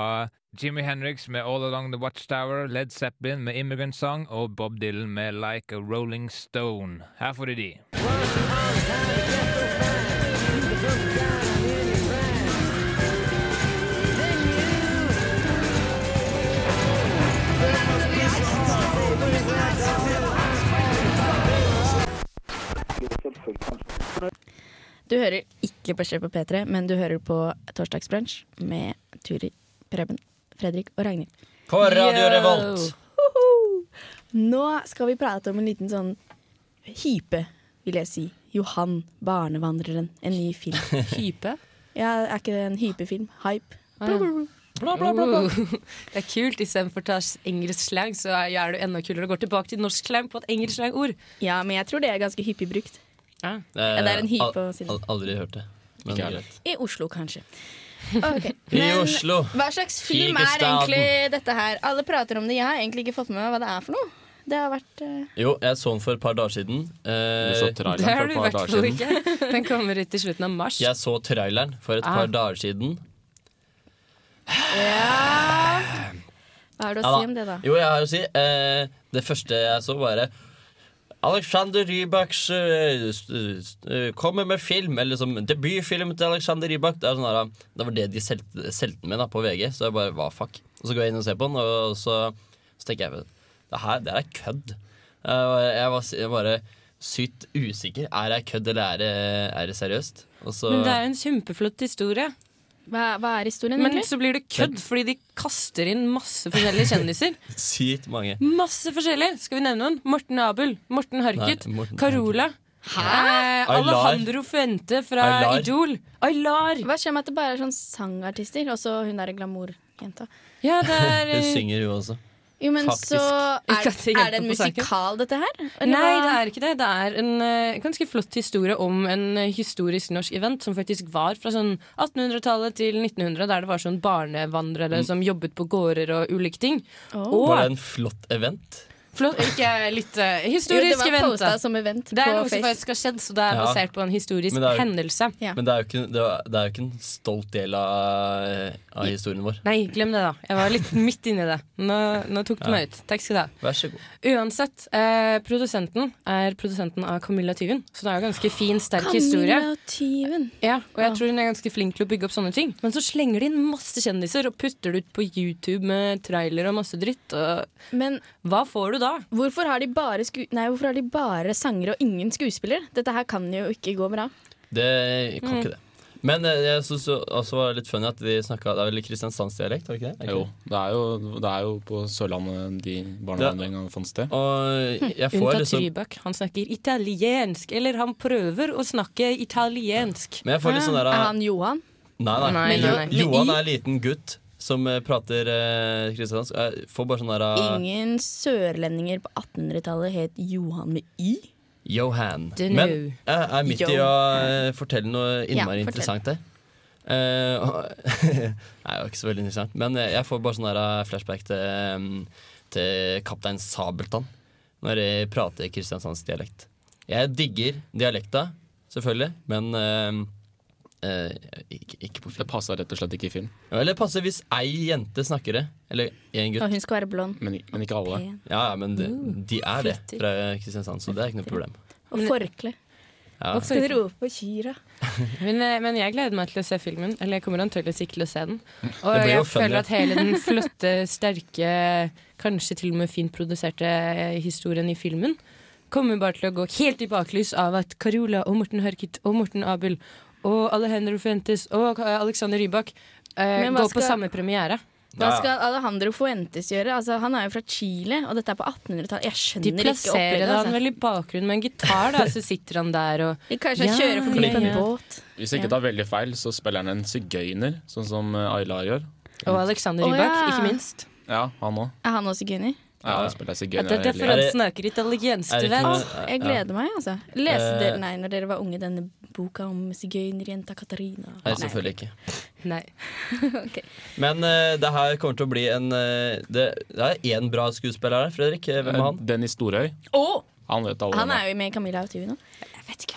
S18: Jimmy Henriks med All Along The Watchtower, Led Zeppelin med Immigrant Song og Bob Dylan med Like a Rolling Stone. Her får du de.
S1: Du hører ikke på Sjef på P3, men du hører på Torsdagsbrunsj med Turi, Preben, Fredrik og Ragnhild.
S5: På Radio
S1: Yo!
S5: Revolt.
S1: Hoho! Nå skal vi prate om en liten sånn hype, vil jeg si. Johan barnevandreren. En ny film.
S7: Hype?
S1: Ja, er ikke det en hypefilm? Hype.
S7: Ah, ja.
S1: Bla, bla, bla, bla.
S7: Oh. Det er kult. Istedenfor å ta engelsk slang, så er du enda kulere og går tilbake til norsk slang på et engelsk slangord.
S1: Ja, men jeg tror det er ganske hyppig brukt.
S7: Ja.
S1: Ja, det er en hype å si.
S5: Eh, Al- al- Aldri hørt det. Men
S1: Ikke
S5: greit.
S1: I Oslo, kanskje. Ok.
S5: I Oslo.
S1: Hva slags film er
S5: Figerstaden.
S1: egentlig dette her? Alle prater om det. Jeg har egentlig ikke fått med meg hva det er for noe. Det har vært eh,
S5: Jo, jeg så den for et par dager siden. Eh,
S6: Du så traileren
S7: Det har du i hvert fall ikke. Den kommer ut i slutten av mars.
S5: Jeg så traileren for et
S7: Ah.
S5: par dager siden.
S1: Hva har du å
S5: Ja
S1: si om det, da?
S5: Jo, jeg har å si. Eh, det første jeg så, bare Alexander Rybaks eh, s- s- eh, kommer med film, eller som debutfilm til Alexander Rybak. Det, er sånn her, ah, det var det de selte, selte med da, på VG, så jeg bare hva fuck? Og så går jeg inn og ser på den, og så, så tenker jeg det her, det her er kødd. Jeg var, jeg var s- jeg bare sykt usikker. Er jeg kødd, eller er det, er det seriøst? Og så,
S7: Men det er jo en kjempeflott historie.
S1: Hva, er historien
S7: Men
S1: egentlig?
S7: så blir det kødd fordi de kaster inn masse forskjellige kjendiser.
S5: sykt mange.
S7: Masse forskjellig! Skal vi nevne noen? Morten Abel, Morten Harket,
S5: Nei, Morten
S7: Carola. Eh,
S5: Aylar.
S7: Alejandro Fuente fra
S5: Aylar.
S7: Idol. Aylar!
S1: Hva skjer med at det bare er sånn sangartister, og så hun derre glamourjenta?
S7: Ja, det er
S5: Hun synger, hun også.
S1: Jo, men
S5: Faktisk.
S1: så er, er det en musikal, dette her? Eller
S7: Nei, det
S1: hva?
S7: er ikke det. Det er en eh, ganske flott historie om en eh, historisk norsk event som faktisk var fra sånn 1800-tallet til 1900, der det var sånn barnevandrere
S5: Mm.
S7: som jobbet på gårder og ulike ting.
S5: Var det en flott event?
S1: Flott.
S7: Ikke litt eh,
S1: Jo,
S7: historisk
S1: det var
S7: event. da.
S1: postet som event
S7: det er
S1: på
S7: noe som
S1: Face.
S7: faktisk har skjedd, så det er
S5: Ja.
S7: basert på en historisk
S5: Men det er jo-
S7: hendelse.
S5: Men det er, jo ikke, det, er, det er jo ikke en stolt del av, av historien vår.
S7: Nei, glem det, da. Jeg var litt midt inni det. Nå, nå tok du
S5: Ja.
S7: meg ut. Takk skal du ha.
S5: Vær så god.
S7: Uansett, eh, produsenten er produsenten av Camilla Tyven, så det er jo ganske fin, sterk
S1: Camilla
S7: historie.
S1: Tyven.
S7: Ja, og jeg tror hun er ganske flink til å bygge opp sånne ting. Men så slenger de inn masse kjendiser og putter det ut på YouTube med trailer og masse dritt. Og
S1: Men
S7: hva får du da?
S1: Hvorfor har de bare, sku nei, hvorfor har de bare sangere og ingen skuespiller? Dette her kan jo ikke gå bra.
S5: Det jeg kan
S1: Mm.
S5: ikke det. Men eh, jeg syns også var det litt funny at de snakka Det er vel Kristiansandsdialekt, var det ikke det? Er ikke
S6: Jo, det er jo, det er jo på Sørlandet de barnevandringene fant sted.
S5: Og liksom-
S7: Unntatt Rybak. Han snakker italiensk. Eller han prøver å snakke italiensk.
S5: Men jeg får litt sånn der-
S1: Ah,
S7: ah,
S1: Er han Johan?
S5: Nei, nei.
S7: Nei,
S5: Jo-
S7: nei, nei.
S5: Johan
S7: Med
S5: er en liten gutt som eh, prater eh, kristiansk. Jeg får bare sånn der
S7: ah.
S5: eh,
S1: Ingen sørlendinger på 1800-tallet het Johan med Y.
S5: Johan.
S1: Dunno.
S5: Men jeg er midt i å eh, fortelle noe
S1: Ja,
S5: innmari
S1: fortell.
S5: interessant her. Eh, og- Nei, det var ikke så veldig interessant. Men eh, jeg får bare sånn der, eh, flashback til, eh, til kaptein Sabeltann når jeg prater kristiansandsdialekt. Jeg digger dialekta, selvfølgelig, men eh, eh, ikke, ikke på film.
S6: Det passer rett og slett ikke i film.
S5: Ja, Eller passer hvis ei jente snakker det. Eller én gutt.
S1: Og hun skal være blond.
S6: Men, men ikke alle.
S5: Ja, ja, men de, de er det
S1: Oh, flytter.
S5: fra Kristiansand, så det er ikke noe problem.
S1: Og forkle.
S5: Ja.
S1: Og skal rope på kyra.
S7: Men, eh, men jeg gleder meg til å se filmen. Eller jeg kommer antakeligvis ikke til å se den. Og
S5: Det blir jo
S7: jeg
S5: funny.
S7: føler at hele den flotte, sterke, kanskje til og med fint produserte eh, historien i filmen kommer bare til å gå helt i baklys av at Carola og Morten Harket og Morten Abel og Alejandro Fuentes og eh, Alexander Rybak eh,
S1: Men hva
S7: går på
S1: skal-
S7: samme premiere.
S1: Hva skal Alejandro Fuentes gjøre? Altså, han er jo fra Chile, og dette er på 1800-tallet. Jeg
S7: De
S1: skjønner ikke
S7: plasserer
S1: opplegget.
S7: han
S1: Altså.
S7: vel i bakgrunnen med en gitar, da, så sitter han der og
S1: Kanskje han kjører forbi på en båt.
S6: Hvis jeg ikke tar veldig feil, så spiller han en sigøyner, sånn som eh, Aylar gjør.
S7: Og Alexander
S1: Å,
S7: Rybak,
S1: ja.
S7: ikke minst.
S6: Ja, han òg.
S1: Er han også sigøyner?
S6: Ja, han spiller
S7: At det
S6: sigøyner.
S7: er derfor han snakker italiensk,
S6: er
S7: du
S6: det
S7: vet.
S6: ikke
S1: Åh, jeg gleder meg, altså. Leste
S5: Eh.
S1: dere, nei, når dere var unge, denne boka om sigøynerjenta Katarina?
S5: Nei, selvfølgelig ikke.
S7: Nei.
S1: Ok.
S5: Men eh, det her kommer til å bli en eh, det, det er én bra skuespiller her, Fredrik. Eh, Hvem er han?
S6: Dennis Storøy.
S1: Å,
S6: Han vet alle
S1: han
S6: hvem
S1: er jo med i Camilla og Tuvi nå.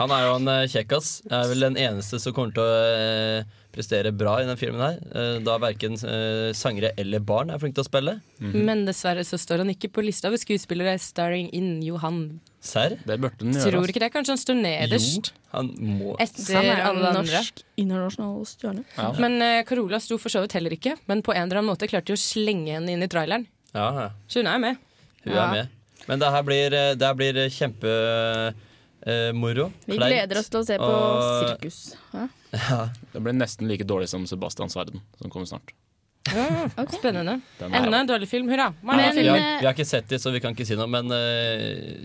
S5: Han er jo en eh, kjekkas. Er vel den eneste som kommer til å eh, prestere bra i denne filmen her. Eh, da verken eh, sangere eller barn er flinke til å spille.
S7: Men dessverre så står han ikke på lista over skuespillere starring in Johan.
S5: Serr?
S6: Det burde altså. den
S7: Tror ikke det. Kanskje han står nederst.
S5: Jo, han må
S7: Etter
S1: Han er jo
S7: alle andre.
S1: norsk internasjonal stjerne.
S5: Ja.
S7: Men eh, Carola sto for så vidt heller ikke, men på en eller annen måte klarte de å slenge henne inn i traileren.
S5: Ja, ja.
S7: Så hun er med.
S5: Hun
S7: Ja.
S5: er med. Men det her blir, eh, det her blir eh, kjempemoro.
S1: Vi gleder oss til å se på sirkus. Hæ?
S6: Det blir nesten like dårlig som Sebastians verden, som kommer snart.
S7: Ja, Spennende.
S6: Den er-
S7: Enda en dårlig film. Hurra. Hurra,
S5: ja, vi,
S7: film.
S5: har,
S1: eh,
S5: vi har ikke sett dem, så vi kan ikke si noe, men eh,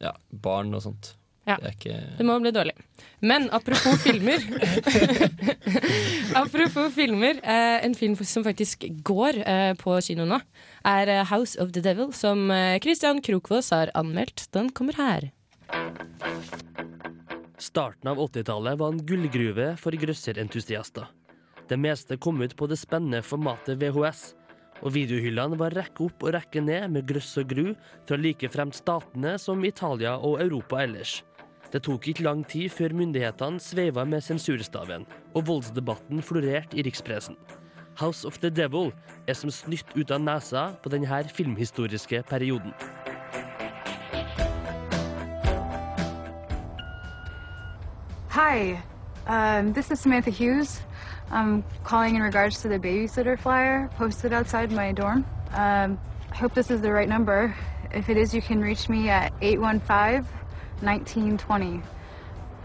S5: ja, barn og sånt.
S7: Ja.
S5: Det er ikke
S7: Det må bli dårlig. Men apropos filmer Apropos filmer. Eh, en film som faktisk går eh, på kino nå, er eh, House of the Devil, som eh, Christian Krokvås har anmeldt. Den kommer her.
S14: Starten av 80-tallet var en gullgruve for grøsserentusiaster. Det meste kom ut på det spennende formatet VHS, og videohyllene var rekke opp og rekke ned med grøss og gru fra like fremt statene som Italia og Europa ellers. Det tok ikke lang tid før myndighetene sveiva med sensurstaven, og voldsdebatten florerte i rikspressen. House of the Devil er som snytt ut av nesa på denne filmhistoriske perioden.
S19: Hi, um, this is Samantha Hughes. I'm calling in regards to the babysitter flyer posted outside my dorm. Um, I hope this is the right number. If it is, you can reach me at 815 1920.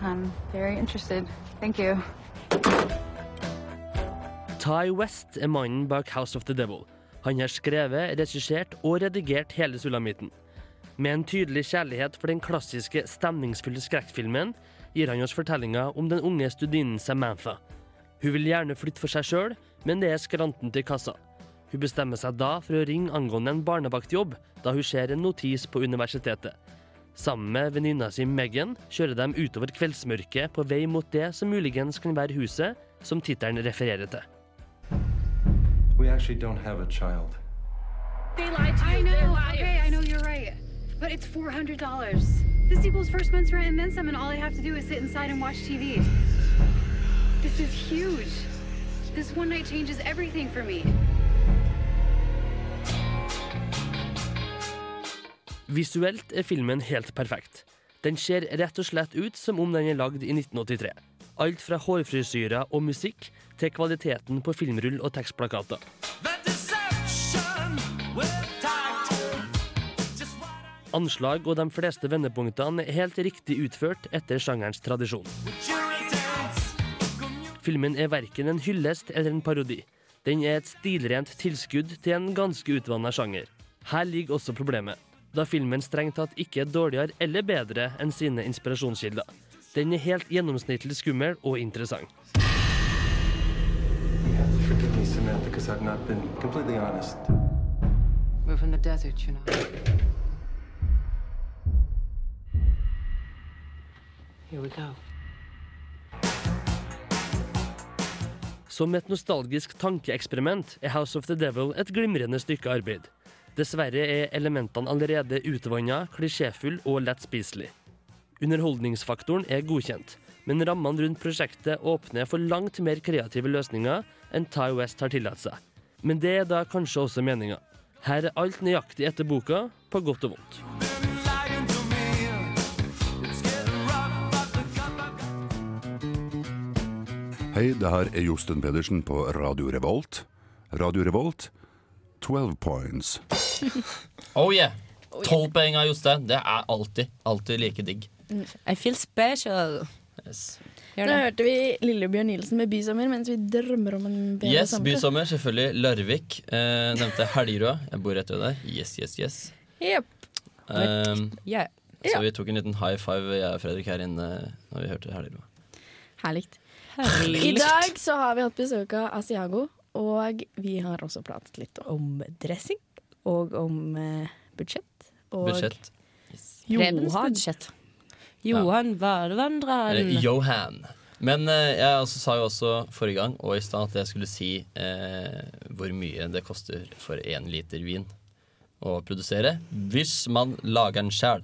S19: I'm very interested. Thank you.
S14: Ty West er mannen bak House of the Devil. Han har skrevet, regissert og redigert hele sulamitten. Med en tydelig kjærlighet for den klassiske, stemningsfulle skrekkfilmen gir han oss fortellinga om den unge studinen Samantha. Hun vil gjerne flytte for seg sjøl, men det er skranten til kassa. Hun bestemmer seg da for å ringe angående en barnevaktjobb, da hun ser en notis på universitetet. Sammen med venninna si Megan kjører de utover kveldsmørket på vei mot det som muligens kan være huset som tittelen refererer til.
S20: We actually don't have a child.
S21: They lied to you.
S19: I
S21: They're
S19: know.
S21: liars.
S19: Okay, I know you're right. But it's four hundred dollars. This equals first month's rent and then some, and all I have to do is sit inside and watch TV. This is huge. This one night changes everything for me.
S14: Visuelt er filmen helt perfekt. Den ser rett og slett ut som om den er lagd i 1983. Alt fra hårfrisyrer og musikk til kvaliteten på filmrull og tekstplakater. Anslag og de fleste vendepunktene er helt riktig utført etter sjangerens tradisjon. Filmen er verken en hyllest eller en parodi. Den er et stilrent tilskudd til en ganske utvanna sjanger. Her ligger også problemet, da filmen strengt tatt ikke er dårligere eller bedre enn sine inspirasjonskilder. Den er helt gjennomsnittlig skummel og interessant.
S22: You have to forgive me, Samantha, because I've not been completely honest.
S23: We're from the desert, you know. Here we go.
S14: Som et nostalgisk tankeeksperiment er House of the Devil et glimrende stykke arbeid. Dessverre er elementene allerede utvanna, klisjéfull og lett spiselig. Underholdningsfaktoren er godkjent, men rammene rundt prosjektet åpner for langt mer kreative løsninger enn Ty West har tillatt seg. Men det er da kanskje også meninga. Her er alt nøyaktig etter boka, på godt og vondt.
S20: Hei, det her er Josten Pedersen på Radio Revolt. Radio Revolt, 12 points.
S5: Oh yeah! Tolv poeng av Jostein. Det er alltid, alltid like digg.
S7: I feel special.
S5: Yes.
S7: Gjør
S1: Nå
S7: det.
S1: hørte vi Lillebjørn Nielsen med 'Bysommer', mens vi drømmer om en bedre
S5: Yes, bysommer. Selvfølgelig Larvik. Eh, nevnte Helgerød. Jeg bor rett ved der. Yes, yes, yes.
S1: Yep.
S5: Um,
S1: Yeah.
S5: Så
S1: Ja.
S5: vi tok en liten high five, jeg og Fredrik, her inne når vi hørte Helgerød.
S1: Herlig. I dag så har vi hatt besøk av Asiago, og vi har også pratet litt om dressing. Og om eh, budsjett. Og
S5: Budsjett.
S1: Rebens
S7: Johan.
S1: budsjett.
S7: Johan
S5: Eller Eh,
S7: Varevandreren.
S5: Johan. Men eh, jeg også, sa jo også forrige gang og i stad at jeg skulle si eh, hvor mye det koster for én liter vin å produsere hvis man lager den sjøl.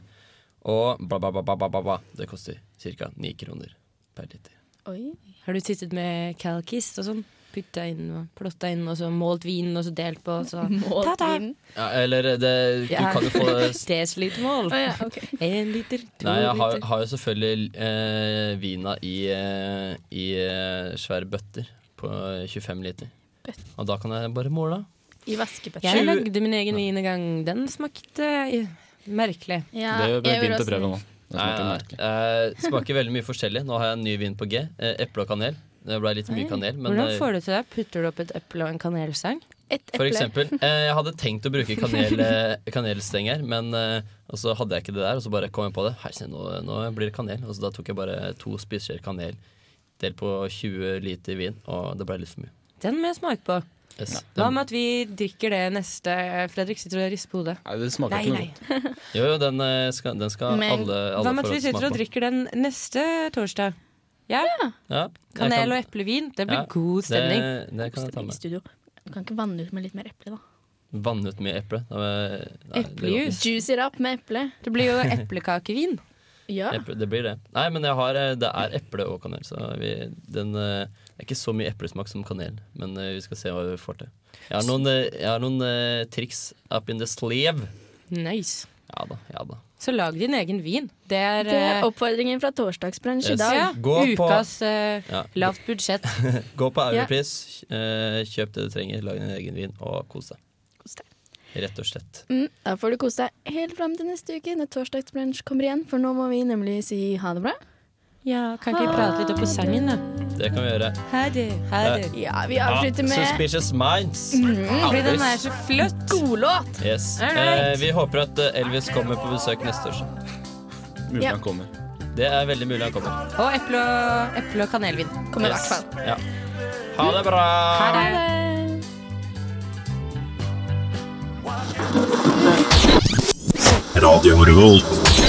S5: Og ba, ba, ba, ba, ba, ba, ba. det koster ca. ni kroner per liter.
S1: Oi.
S7: Har du sittet med Calkist og sånn? Putta inn og plotta inn, og så målt vinen, og så delt på, og så
S1: Målt
S7: Ta-ta!
S1: vinen?
S5: Ja, eller eh, det, du
S7: Ja.
S5: kan jo få
S7: Desilitermål.
S1: Å ja,
S7: Én liter, to
S5: Nei, jeg har,
S7: liter.
S5: har jo selvfølgelig eh, vina i, eh, i eh, svære bøtter på 25 liter. Og da kan jeg bare måle.
S1: I vaskebøtta.
S7: Jeg
S5: Tjue-
S7: lagde min egen vin en gang. Den smakte eh, merkelig.
S1: Ja,
S5: Nei, nei, eh, smaker veldig mye forskjellig. Nå har jeg en ny vin på G. Eh, eple og kanel. Det ble litt mye kanel. Men
S7: Hvordan
S5: eh,
S7: får du til det? Putter du opp et eple og en kanelsang?
S5: for eksempel, eh, jeg hadde tenkt å bruke kanel, eh, kanelstenger, men eh, og så hadde jeg ikke det der. Og så bare kom jeg på det. Hei, se, nå, nå blir det kanel. Og så da tok jeg bare to spiseskjeer kanel delt på 20 liter vin, og det ble litt for mye.
S7: Den må jeg smake på.
S5: Yes.
S7: Hva
S5: Den,
S7: med at vi drikker det neste Fredrik sitter og rister på hodet.
S5: Nei, det smaker
S7: nei,
S5: ikke noe
S7: nei.
S5: jo, jo, den eh, skal, den skal alle, alle
S7: Hva med at
S5: få
S7: vi sitter
S5: smake
S7: og
S5: på.
S7: drikker den neste torsdag? Ja.
S5: Ja, jeg
S7: Kanel
S5: kan-
S7: og eplevin. Det blir
S5: Ja,
S7: god stemning.
S5: Det, det kan jeg ta
S1: I
S5: med.
S1: studio. Du kan ikke vanne ut med litt mer eple, da.
S5: Vann ut med eple. Da var- nei, det går ikke.
S1: Eplejus. Juice it up med eple.
S7: Det blir jo eplekakevin.
S1: ja.
S5: Eple, det blir det. Nei, men jeg har, eh, det er eple og kanel. Så vi, den, eh, det er ikke så mye eplesmak som kanel, men eh, vi skal se hva vi får til. Jeg har noen, eh, jeg har noen eh, triks up in the sleeve.
S7: Nice.
S5: Ja da, ja da.
S7: Så lag din egen vin. Det er,
S1: Det er
S7: eh,
S1: oppfordringen fra torsdagsbransje
S5: Yes.
S1: i dag.
S5: Ja, Gå på-
S7: ukas eh,
S5: Ja.
S7: lavt budsjett.
S5: Gå på
S1: Ja.
S5: Europris, eh, kjøp det du trenger, lag din egen vin og kos deg. Rett og slett.
S1: Mm, da får du kose deg helt fram til neste uke når torsdagsbransje kommer igjen, for nå må vi nemlig si ha det bra.
S7: Ja, kan ikke vi prate litt opp på sangen, da?
S5: Det kan vi gjøre.
S7: Ha det. Ha det.
S5: Eh,
S1: Ja, vi avslutter med-
S5: Suspicious Minds.
S7: fordi den
S5: Elvis.
S7: er så flott.
S1: God låt.
S5: Yes.
S7: All right.
S5: Eh, vi håper at eh, Elvis kommer på besøk neste år.
S7: Mulig Ja. han
S5: kommer. Det er veldig mulig han kommer.
S7: Og eple og, eple og kanelvin. Kommer i
S5: Yes.
S7: hvert fall.
S5: Ja. Ha det bra!
S7: Ha det.
S8: Radio Revolt.